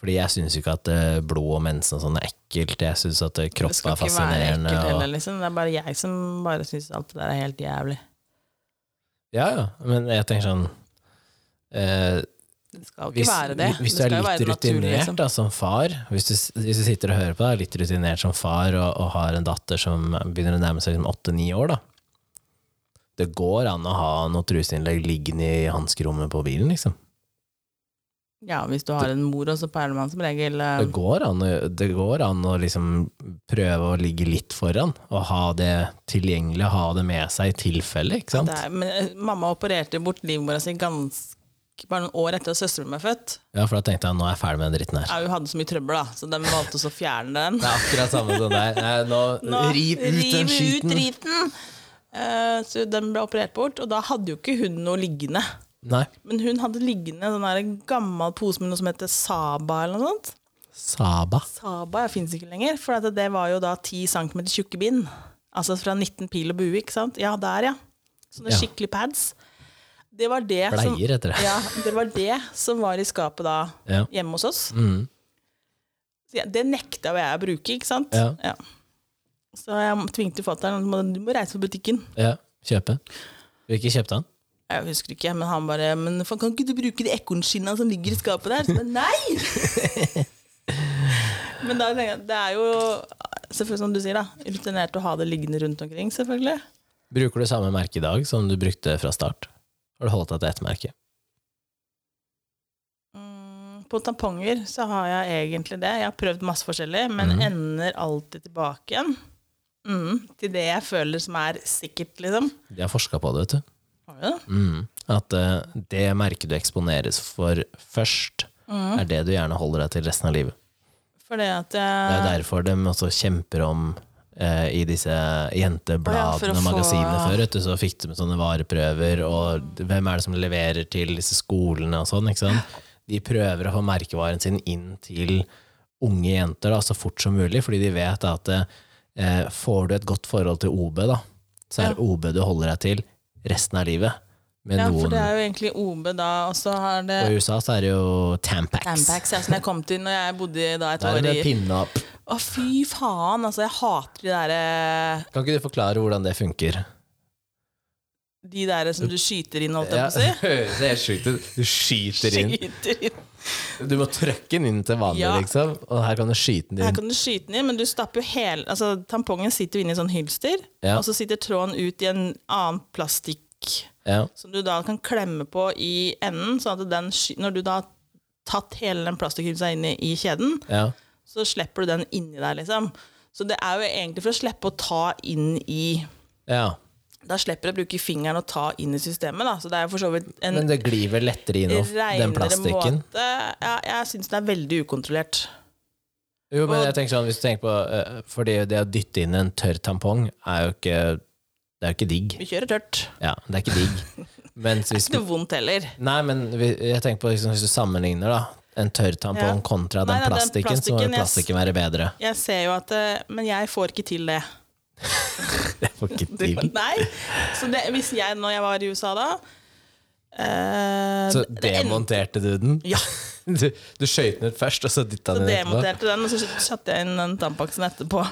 A: Fordi jeg syns ikke at eh, blod og mensen og sånn er ekkelt. Jeg syns at eh,
B: Det
A: kropp
B: skal
A: er
B: ikke være
A: fascinerende.
B: ekkelt heller,
A: Og,
B: liksom. Det er bare jeg som bare syns alt det der er helt jævlig.
A: ja, ja. Men jeg tenker sånn eh,
B: Det skal jo ikke
A: hvis,
B: være det.
A: hvis du
B: det
A: er
B: skal jo
A: litt
B: være naturlig,
A: rutinert
B: liksom.
A: da, som far, hvis du, hvis du sitter og hører på deg, litt rutinert som far og, og har en datter som begynner å nærme seg liksom åtte-ni år, da Det går an å ha noe truseinnlegg liggende i hanskerommet på bilen, liksom.
B: Ja, hvis du har en mor, og så peiler man som regel eh,
A: Det går an, å- det går an å liksom prøve å ligge litt foran, og ha det tilgjengelig, ha det med seg i tilfelle, ikke sant?
B: det er, men eh, Mamma opererte bort livmora si ganske bare noen år etter at søsteren min ble født.
A: Ja, for da tenkte jeg nå er jeg ferdig med den dritten her.
B: Ja, hun hadde så mye trøbbel, da, så de valgte også å fjerne den.
A: Det er akkurat samme som deg. Nei, nå, riv ut den
B: riv ut
A: skiten.
B: driten! Eh, så den ble operert bort, og da hadde jo ikke hun noe liggende.
A: Nei.
B: Men hun hadde liggende en sånn her gammel pose med noe som heter Saba eller noe sånt.
A: Saba.
B: Saba fins ikke lenger, for at det var jo da 10 cm tjukke bind. Altså fra 19 pil og bue, ikke sant? Ja, der, ja. Sånne
A: Ja.
B: skikkelig pads. Det var det som
A: Bleier heter det.
B: ja, det var det som var i skapet da,
A: Ja.
B: hjemme hos oss.
A: Mm.
B: Så jeg- Det nekta jo jeg å bruke, ikke sant?
A: Ja.
B: Så jeg tvingte fatter'n at du må reise på butikken.
A: ja. Kjøpe. Hvilken kjøpte han?
B: Jeg husker ikke, men han bare Men faen, kan ikke du bruke de ekornskinna som ligger i skapet der? Så jeg, nei! men da tenker jeg, det er jo selvfølgelig som du sier, da. Rutinert å ha det liggende rundt omkring, selvfølgelig.
A: Bruker du samme merke i dag som du brukte fra start? Har du holdt deg til ett merke?
B: Mm, På tamponger så har jeg egentlig det. Jeg har prøvd masse forskjellig, men
A: Mhm.
B: ender alltid tilbake igjen. Mm, til det jeg føler som er sikkert, liksom.
A: De har forska på det, vet du.
B: Har du det?
A: Mm. At eh, det merket du eksponeres for først, er det du gjerne holder deg til resten av livet.
B: Fordi Mm, at
A: Det er jo
B: jeg
A: derfor de også kjemper om eh, i disse
B: Å ja, for
A: jentebladene
B: å
A: og magasinene
B: få-
A: før. Vet du, så fikk de sånne vareprøver, og hvem er det som leverer til disse skolene og sånn. ikke sant? De prøver å få merkevaren sin inn til unge jenter da, så fort som mulig, fordi de vet da at eh, får du et godt forhold til OB, da, så er OB du holder deg til resten av livet. Med
B: Ja, for
A: noen,
B: det er jo egentlig OB da, og så har det
A: og i USA så er det jo Tampax.
B: Tampax, ja, som jeg kom til når jeg bodde da et
A: Der er
B: år
A: det
B: i
A: pinna opp.
B: Å, fy faen, altså, jeg hater de eh, derre
A: Kan ikke du forklare hvordan det funker?
B: De derre som du skyter inn, holdt jeg
A: Ja,
B: på å si.
A: høres helt sjukt ut. Du skyter inn.
B: Skyter inn.
A: Du må trøkke den inn til vanlig,
B: Ja.
A: liksom. Og her kan du skyte den
B: Her
A: inn.
B: kan du skyte den inn, men du stapper jo hele Altså, tampongen sitter jo inne i sånn hylster,
A: Ja.
B: og så sitter tråden ut i en annen plastikk
A: Ja.
B: som du da kan klemme på i enden, sånn at den sky Når du da har tatt hele den plastikkhylsa inn i, i kjeden,
A: Ja.
B: så slipper du den inni der, liksom. Så det er jo egentlig for å slippe å ta inn i
A: ja.
B: Da slipper du å bruke fingeren og ta inn i systemet, da. Så det er jo for så vidt en
A: Men det glir vel lettere innom den
B: reinere
A: plastikken.
B: måte. Ja, jeg syns den er veldig ukontrollert.
A: Jo, men jeg tenker sånn, hvis du tenker på eh, Fordi det å dytte inn en tørr tampong er jo ikke Det er jo ikke digg.
B: Vi kjører tørt.
A: Ja, det er ikke digg. Mens hvis
B: Ikke noe vondt heller.
A: Nei, men vi- jeg tenker på liksom, hvis du sammenligner, da. En tørr tampong
B: Ja.
A: kontra den
B: Nei, nei, den
A: plastikken, så må jo
B: plastikken, yes.
A: plastikken være bedre.
B: Jeg ser jo at eh, Men jeg får ikke til det.
A: Det får ikke
B: Det-
A: til.
B: Nei. Så det, hvis jeg, når jeg var i USA da eh,
A: Så
B: det- det endte-
A: demonterte du den?
B: Ja.
A: Du, du skøyt den ut først, og så dytta
B: Så
A: den inn etterpå?
B: demonterte den, og så satte jeg inn den tampaksen etterpå.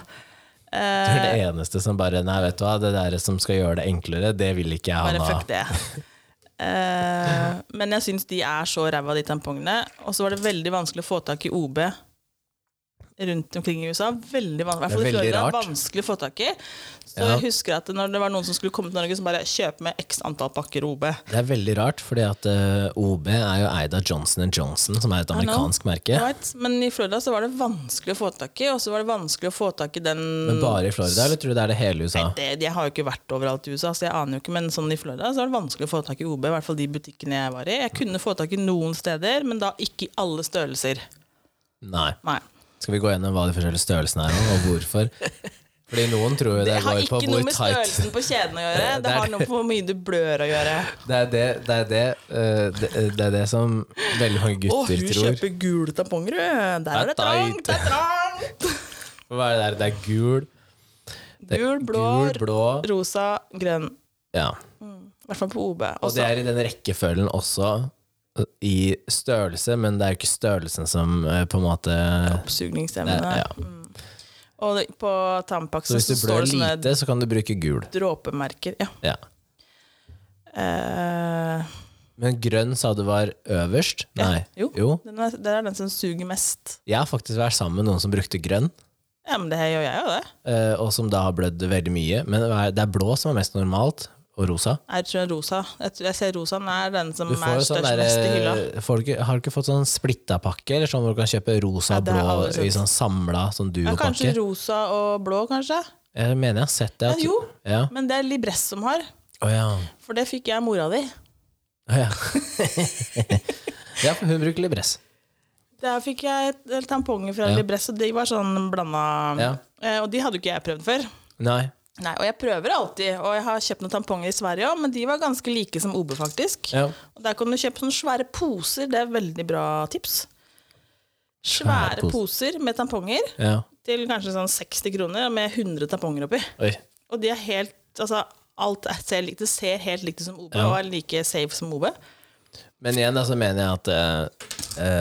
A: Det
B: Eh,
A: er det eneste som bare Nei, vet du hva, det der som skal gjøre det enklere, det vil ikke jeg
B: bare
A: ha noe
B: fuck det. Eh, men jeg syns de er så ræva, de tampongene. Og så var det veldig vanskelig å få tak i OB rundt omkring i USA. Veldig vanskelig,
A: Det er
B: i
A: veldig
B: Florida,
A: rart.
B: vanskelig å få tak i. Så
A: Ja.
B: jeg husker at når det var noen som skulle komme til Norge, så bare kjøp med x antall pakker OB.
A: Det er veldig rart, fordi at eh, OB er jo eid av Johnson Johnson, som er et
B: know.
A: amerikansk merke.
B: Right? Men i Florida så var det vanskelig å få tak i, og så var det vanskelig å få tak i den
A: Men bare i Florida, eller tror du det er det hele USA?
B: det, Jeg har jo ikke vært overalt i USA, så jeg aner jo ikke, men sånn i Florida så var det vanskelig å få tak i OB. I hvert fall de butikkene jeg var i. Jeg kunne få tak i noen steder, men da ikke i alle størrelser.
A: Nei.
B: Nei.
A: Skal vi gå gjennom hva de forskjellige størrelsene er, og hvorfor? Fordi noen tror jo det,
B: Det har
A: går på
B: ikke noe
A: hvor
B: med
A: tight
B: størrelsen på kjeden å gjøre,
A: Det
B: det
A: er
B: har noe med hvor mye du blør å gjøre.
A: Det er det, det, er det, eh, det, det er det som veldig mange
B: Å,
A: gutter
B: hun
A: tror.
B: kjøper gule tamponger, du! Der er
A: Det
B: det
A: er
B: trangt! Det er trangt!
A: Hva er det der? Det er gul, det er
B: Gul, blå,
A: gul, blå
B: rosa, grønn.
A: Ja.
B: I hvert fall på OB.
A: Og det
B: Også.
A: er i den rekkefølgen også ø, i størrelse, men det er jo ikke størrelsen som ø, på en måte det,
B: Oppsugningsevne.
A: ja.
B: Og det- på Tampax
A: Så
B: så,
A: hvis du
B: står
A: blør
B: sånn Mm. det sånne
A: lite, så kan du bruke gul.
B: dråpemerker. Ja.
A: Ja.
B: Eh,
A: Men grønn sa du var øverst?
B: Ja.
A: Nei.
B: Jo. Den er, det er den som suger mest.
A: Jeg har faktisk vært sammen med noen som brukte grønn,
B: Ja, men det her gjør jeg jo, det.
A: ø, og som da har blødd veldig mye. Men hva er- det er blå som er mest normalt, og rosa.
B: Jeg tror den rosa. Jeg, tror, jeg ser rosaen er den som
A: Du får
B: er
A: jo sånn
B: størst
A: der,
B: mest i hylla.
A: ø, får du ikke- Har du ikke fått sånn splitta pakke, eller sånn hvor du kan kjøpe rosa
B: Ja,
A: og
B: det har jeg
A: blå
B: aldri sett.
A: i sånn samla sånn
B: Ja, kanskje
A: duopakke?
B: rosa og blå, kanskje.
A: Jeg mener jeg har sett det.
B: Ja,
A: at-
B: jo,
A: Ja.
B: men det er Libress som har.
A: Å ja.
B: For det fikk jeg av mora di.
A: Å, Ja. ja, for hun bruker Libress.
B: Der fikk jeg et del tamponger fra
A: Ja.
B: Libress, og de var sånn blanda
A: Ja.
B: eh, Og de hadde jo ikke jeg prøvd før.
A: Nei.
B: Nei, og jeg prøver alltid, og jeg har kjøpt noen tamponger i Sverige òg, men de var ganske like som Obe, faktisk.
A: Ja.
B: Og der kan du kjøpe sånne svære poser, det er veldig bra tips.
A: Svære poser.
B: Svære poser med tamponger
A: ja.
B: til kanskje sånn 60 kroner, med 100 tamponger oppi.
A: Oi.
B: Og de er helt Altså, alt er, ser, likt, det ser helt likt ut som OB, og er like safe som OB.
A: Men igjen da så mener jeg at eh,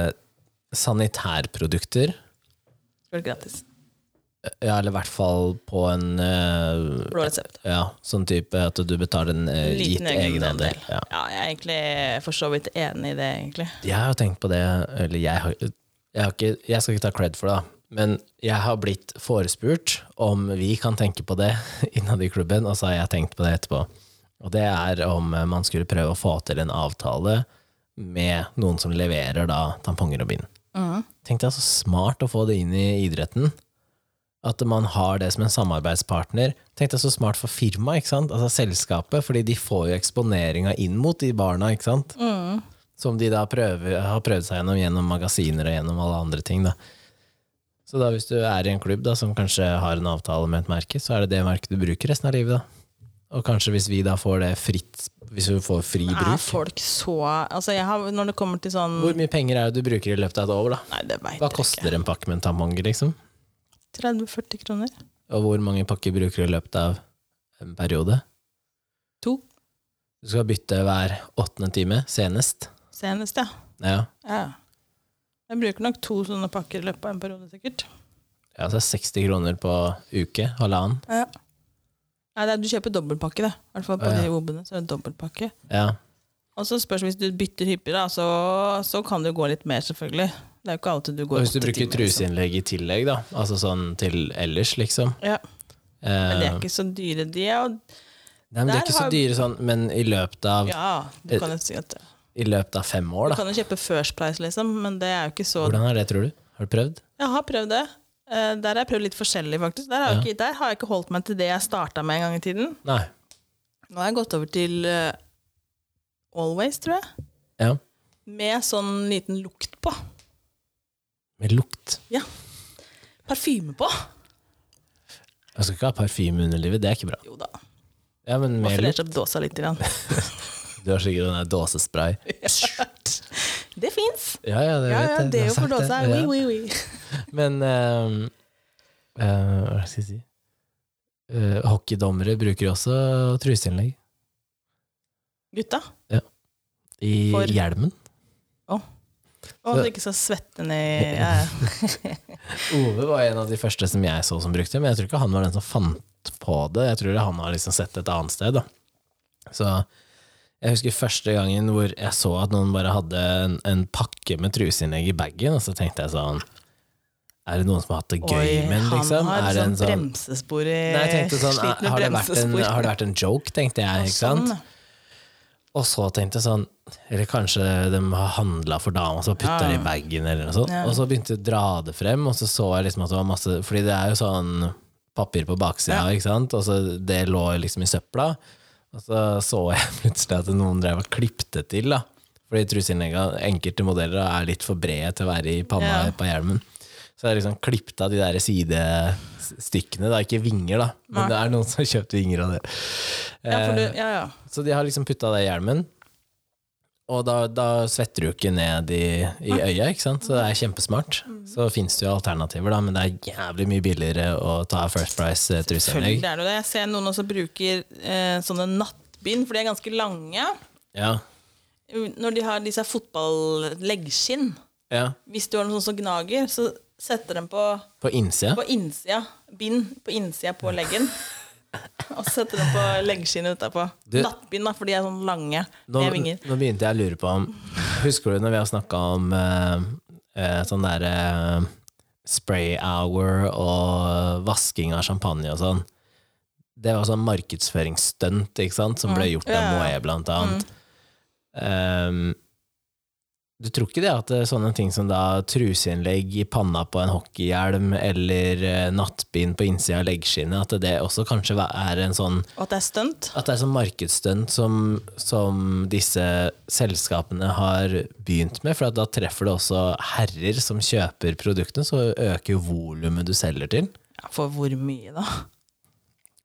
A: eh, sanitærprodukter, eh,
B: Skal være gratis.
A: ja, eller i hvert fall på en eh,
B: Blå resept.
A: ja, sånn type at du betaler en eh, gitt
B: Liten egenandel.
A: egenandel.
B: Ja.
A: Ja.
B: jeg er egentlig for så vidt enig i det, egentlig.
A: Jeg har jo tenkt på det, eller jeg har, jeg har ikke Jeg skal ikke ta cred for det, da. Men jeg har blitt forespurt om vi kan tenke på det innad i klubben, og så har jeg tenkt på det etterpå. Og det er om eh, man skulle prøve å få til en avtale med noen som leverer da tamponger og bind. Tenk deg så smart å få det inn i idretten. At man har det som en samarbeidspartner. Tenk deg så smart for firmaet, ikke sant? Altså selskapet, fordi de får jo eksponeringa inn mot de barna, ikke sant?
B: Mm.
A: Som de da prøver, har prøvd seg gjennom gjennom magasiner og gjennom alle andre ting. Da. Så da hvis du er i en klubb da, som kanskje har en avtale med et merke, så er det det merket du bruker resten av livet. Da. Og kanskje hvis vi da får det fritt, hvis vi får fri
B: Er
A: bruk
B: folk så Altså, jeg har Når det kommer til sånn
A: Hvor mye penger er det du bruker i løpet av et år? da?
B: Nei, det veit
A: Hva
B: jeg ikke.
A: koster en pakke med en tamponger, liksom?
B: 30-40 kroner?
A: Og hvor mange pakker bruker du i løpet av en periode?
B: To,
A: Du skal bytte hver åttende time, senest.
B: senest, ja.
A: Ja,
B: ja. Jeg bruker nok to sånne pakker i løpet av en periode, sikkert.
A: ja så er det 60 kroner på uke, halvannen.
B: Ja. Nei, det er, du kjøper dobbeltpakke, det. I hvert fall på
A: Ja, ja.
B: de OB-ene så er det dobbeltpakke.
A: Ja,
B: Og så spørs hvis du bytter hyppig, da, så, så kan det jo gå litt mer, selvfølgelig. Det er jo ikke alltid du
A: Og
B: går
A: hvis du
B: åtte
A: bruker
B: timer, liksom.
A: truseinnlegg i tillegg, da, altså sånn til ellers, liksom
B: Ja,
A: eh,
B: men de er ikke så dyre, de er jo
A: Nei, men De er
B: der
A: ikke så
B: har-
A: dyre sånn, men i løpet av,
B: Ja, du kan jo si at Du
A: i løpet av fem år, da.
B: kan jo kjøpe First Price, liksom, men det er jo ikke så
A: Hvordan er det, tror du? Har du prøvd?
B: Jeg har prøvd det. Eh, Der har jeg prøvd litt forskjellig, faktisk. Der har, jeg ikke, der har jeg ikke holdt meg til det jeg starta med en gang i tiden.
A: Nei.
B: Nå har jeg gått over til eh, Always, tror jeg.
A: Ja.
B: Med sånn liten lukt på.
A: Med lukt.
B: Parfyme på.
A: Jeg skal ikke ha parfyme under livet, det er ikke bra.
B: Jo da.
A: Ja, men med
B: Flerte
A: lukt.
B: opp dåsa litt. Grann.
A: Du har sikkert den der dåsespray.
B: Det fins!
A: Ja, ja, det vet
B: Ja, ja,
A: jeg. Du
B: det er
A: har
B: jo for
A: sagt
B: dåsa.
A: det.
B: Oui,
A: Ja.
B: oui, oui.
A: Men ehm, eh, hva skal jeg si Eh, Hockeydommere bruker jo også truseinnlegg
B: Gutta.
A: i
B: For-
A: hjelmen.
B: Å, at du ikke skal svette ned ja, ja.
A: Ove var en av de første som jeg så som brukte, men jeg tror ikke han var den som fant på det. Jeg tror han har liksom sett det et annet sted. Da. Så jeg husker første gangen hvor jeg så at noen bare hadde en, en pakke med truseinnlegg i bagen, og så tenkte jeg sånn Er det noen som har hatt det gøy med den,
B: han
A: liksom?
B: har
A: Er det en
B: sånn
A: sånn
B: bremsespor i
A: Nei, jeg tenkte sånn,
B: Sliten med
A: har, det vært en,
B: bremsespor.
A: har det vært en joke, tenkte jeg. ikke sant?
B: Sånn.
A: Og så tenkte jeg sånn Eller kanskje de har handla for dama, så putta de i bagen, eller noe sånt.
B: Ja.
A: Og så begynte jeg å dra det frem, og så så jeg liksom at det var masse Fordi det er jo sånn papir på baksida, ikke sant, og så det lå liksom i søpla. Og så så jeg plutselig at noen drev og klipte til, da. Fordi truseinnlegga, enkelte modeller, da, er litt for brede til å være i panna
B: Ja.
A: på hjelmen. Så jeg liksom klippet av de der sidestykkene, da. Ikke vinger, da, men det er noen som har kjøpt vinger av det.
B: Ja, for du,
A: Eh,
B: ja, ja.
A: Så de har liksom putta det i hjelmen. Og da, da svetter du jo ikke ned i, i øyet, ikke sant? så det er kjempesmart. Så fins det jo alternativer, da, men det er jævlig mye billigere å ta First Price eh, truseinnlegg.
B: Selvfølgelig er det jo det. Jeg ser noen også bruker eh, sånne nattbind, for de er ganske lange.
A: Ja.
B: Når de har disse fotball-leggskinn.
A: ja.
B: Hvis du har noen sånn som gnager, så setter de på,
A: På innsida.
B: på innsida bind på innsida på leggen. Og så setter de på leggskinnet utapå.
A: Du-
B: Nattbind, da, for de er sånn lange
A: Nå,
B: med vinger.
A: nå begynte jeg å lure på om Husker du når vi har snakka om eh, eh, sånn derre eh, spray hour og vasking av champagne og sånn? Det var sånn markedsføringsstunt ikke sant, som ble gjort av
B: Mm. Ja, ja, Mm.
A: Moët, blant annet. Ehm, du tror ikke det at eh, sånne ting som da truseinnlegg i panna på en hockeyhjelm eller eh, nattbind på innsida av leggskinnet, at det også kanskje er en sånn
B: Og at det er stunt.
A: at det er sånn markedsstunt som, som disse selskapene har begynt med, for at da treffer det også herrer som kjøper produktene, så øker jo volumet du selger til.
B: Ja, for hvor mye, da?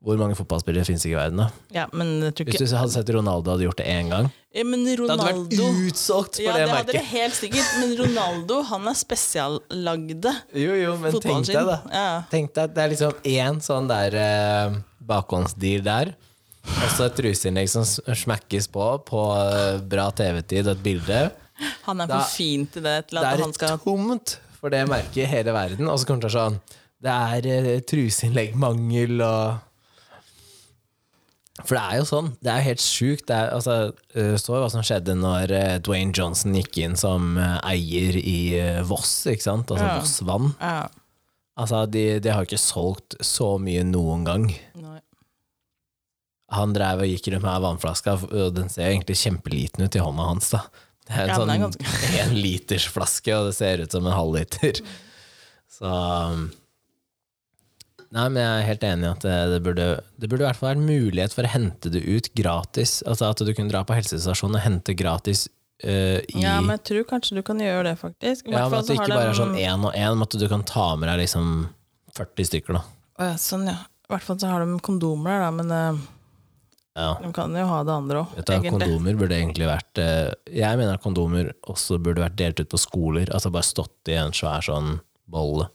A: Hvor mange fotballspillere finnes ikke i verden? da?
B: Ja, men jeg tror
A: Hvis
B: ikke
A: du hadde sett Ronaldo hadde gjort det én gang
B: ja, Men
A: Det hadde vært
B: Ronaldo
A: utsolgt på
B: Ja,
A: det,
B: det hadde det
A: merket!
B: helt sikkert, men Ronaldo han er spesiallagde.
A: Jo, jo, men tenk deg, da.
B: fotballskinn. Ja.
A: Tenk deg at det er liksom én sånn der eh, bakhåndsdeal der, og så et truseinnlegg som s- smekkes på på eh, bra TV-tid og et bilde.
B: Han er
A: Da-
B: for fin til det til
A: Det
B: at
A: er
B: han skal
A: tomt for det merket i hele verden, og så kommer det til å være sånn Det er eh, truseinnleggmangel og for det er jo sånn. Det er jo helt sjukt. Det er, altså, eh, så hva som skjedde når eh, Dwayne Johnson gikk inn som eh, eier i eh, Voss, ikke sant? Altså
B: Ja.
A: Voss Vann.
B: ja.
A: Altså, de, de har ikke solgt så mye noen gang.
B: Nei.
A: Han drev og gikk rundt med ei vannflaske, og den ser egentlig kjempeliten ut i hånda hans. da. Det er en
B: Ja, den er
A: sånn enlitersflaske, og det ser ut som en halvliter. Så um, Nei, men jeg er helt enig i at det, det burde Det burde i hvert fall være en mulighet for å hente det ut gratis. Altså At du kunne dra på helsestasjonen og hente gratis eh, i
B: Ja, men jeg tror kanskje du kan gjøre det, faktisk. I
A: Ja, men
B: hvert fall
A: at det
B: så har
A: ikke bare er
B: de-
A: sånn én og én, men at du kan ta med deg liksom 40 stykker, da.
B: Å ja, sånn, ja. I hvert fall så har de kondomer der, da, men eh,
A: Ja.
B: de kan jo ha det andre òg,
A: Vet du, hva,
B: egentlig.
A: kondomer burde egentlig vært eh, Jeg mener at kondomer også burde vært delt ut på skoler. Altså bare stått i en svær sånn bolle.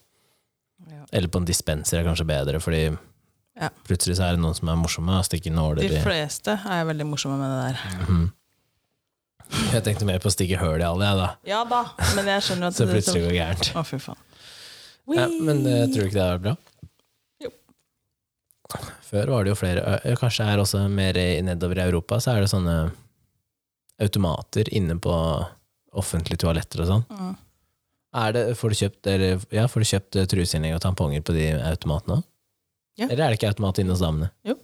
B: Ja.
A: Eller på en dispenser er kanskje bedre, fordi
B: Ja.
A: plutselig så er det noen som er morsomme og stikker nåler
B: De
A: i
B: fleste er veldig morsomme med det der.
A: Mhm. Jeg tenkte mer på å stikke høl i alle, jeg, da.
B: Ja da, men jeg skjønner at
A: Så
B: det
A: plutselig går det gærent.
B: Å, fy faen.
A: Ja, men eh, tror du ikke det er bra?
B: Jo.
A: Før var det jo flere ø- Kanskje her også mer i- nedover i Europa, så er det sånne automater inne på offentlige toaletter og sånn.
B: Mm.
A: Er det, får du kjøpt, eller, ja, får du kjøpt eh, truseinnlegg og tamponger på de automatene òg?
B: Ja.
A: Eller er det ikke automat inne hos damene?
B: Jo.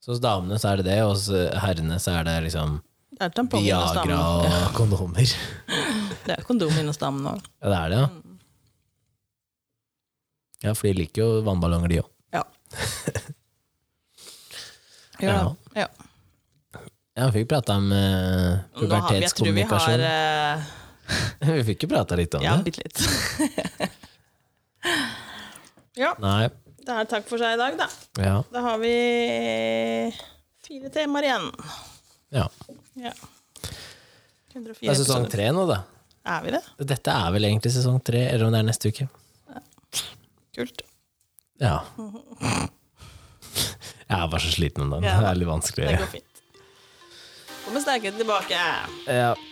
A: Så hos damene så er det det, og hos eh, herrene så er det liksom
B: Det er tamponger hos
A: Viagra
B: damene.
A: og
B: Ja,
A: kondomer.
B: det er kondom inne hos damene òg.
A: Ja, det er det, ja.
B: Mm.
A: Ja, for de liker jo vannballonger, de òg.
B: Ja. Ja.
A: Ja, vi fikk prata om eh,
B: Nå har vi, jeg tror vi har
A: pubertetskommunikasjon. Vi,
B: eh,
A: fikk jo prata litt om
B: Ja,
A: det.
B: bitte litt. ja,
A: Nei,
B: det er takk for seg i dag, da.
A: ja.
B: Da har vi fire temaer igjen.
A: ja.
B: Ja. 104
A: Det er sesong
B: episoder.
A: tre nå, da.
B: Er vi det?
A: Dette er vel egentlig sesong tre, eller om det er neste uke.
B: Kult.
A: Ja. Jeg er bare så sliten om dagen.
B: Ja.
A: Det er litt
B: Det
A: vanskelig.
B: går fint. Kommer sterkere tilbake.
A: Ja.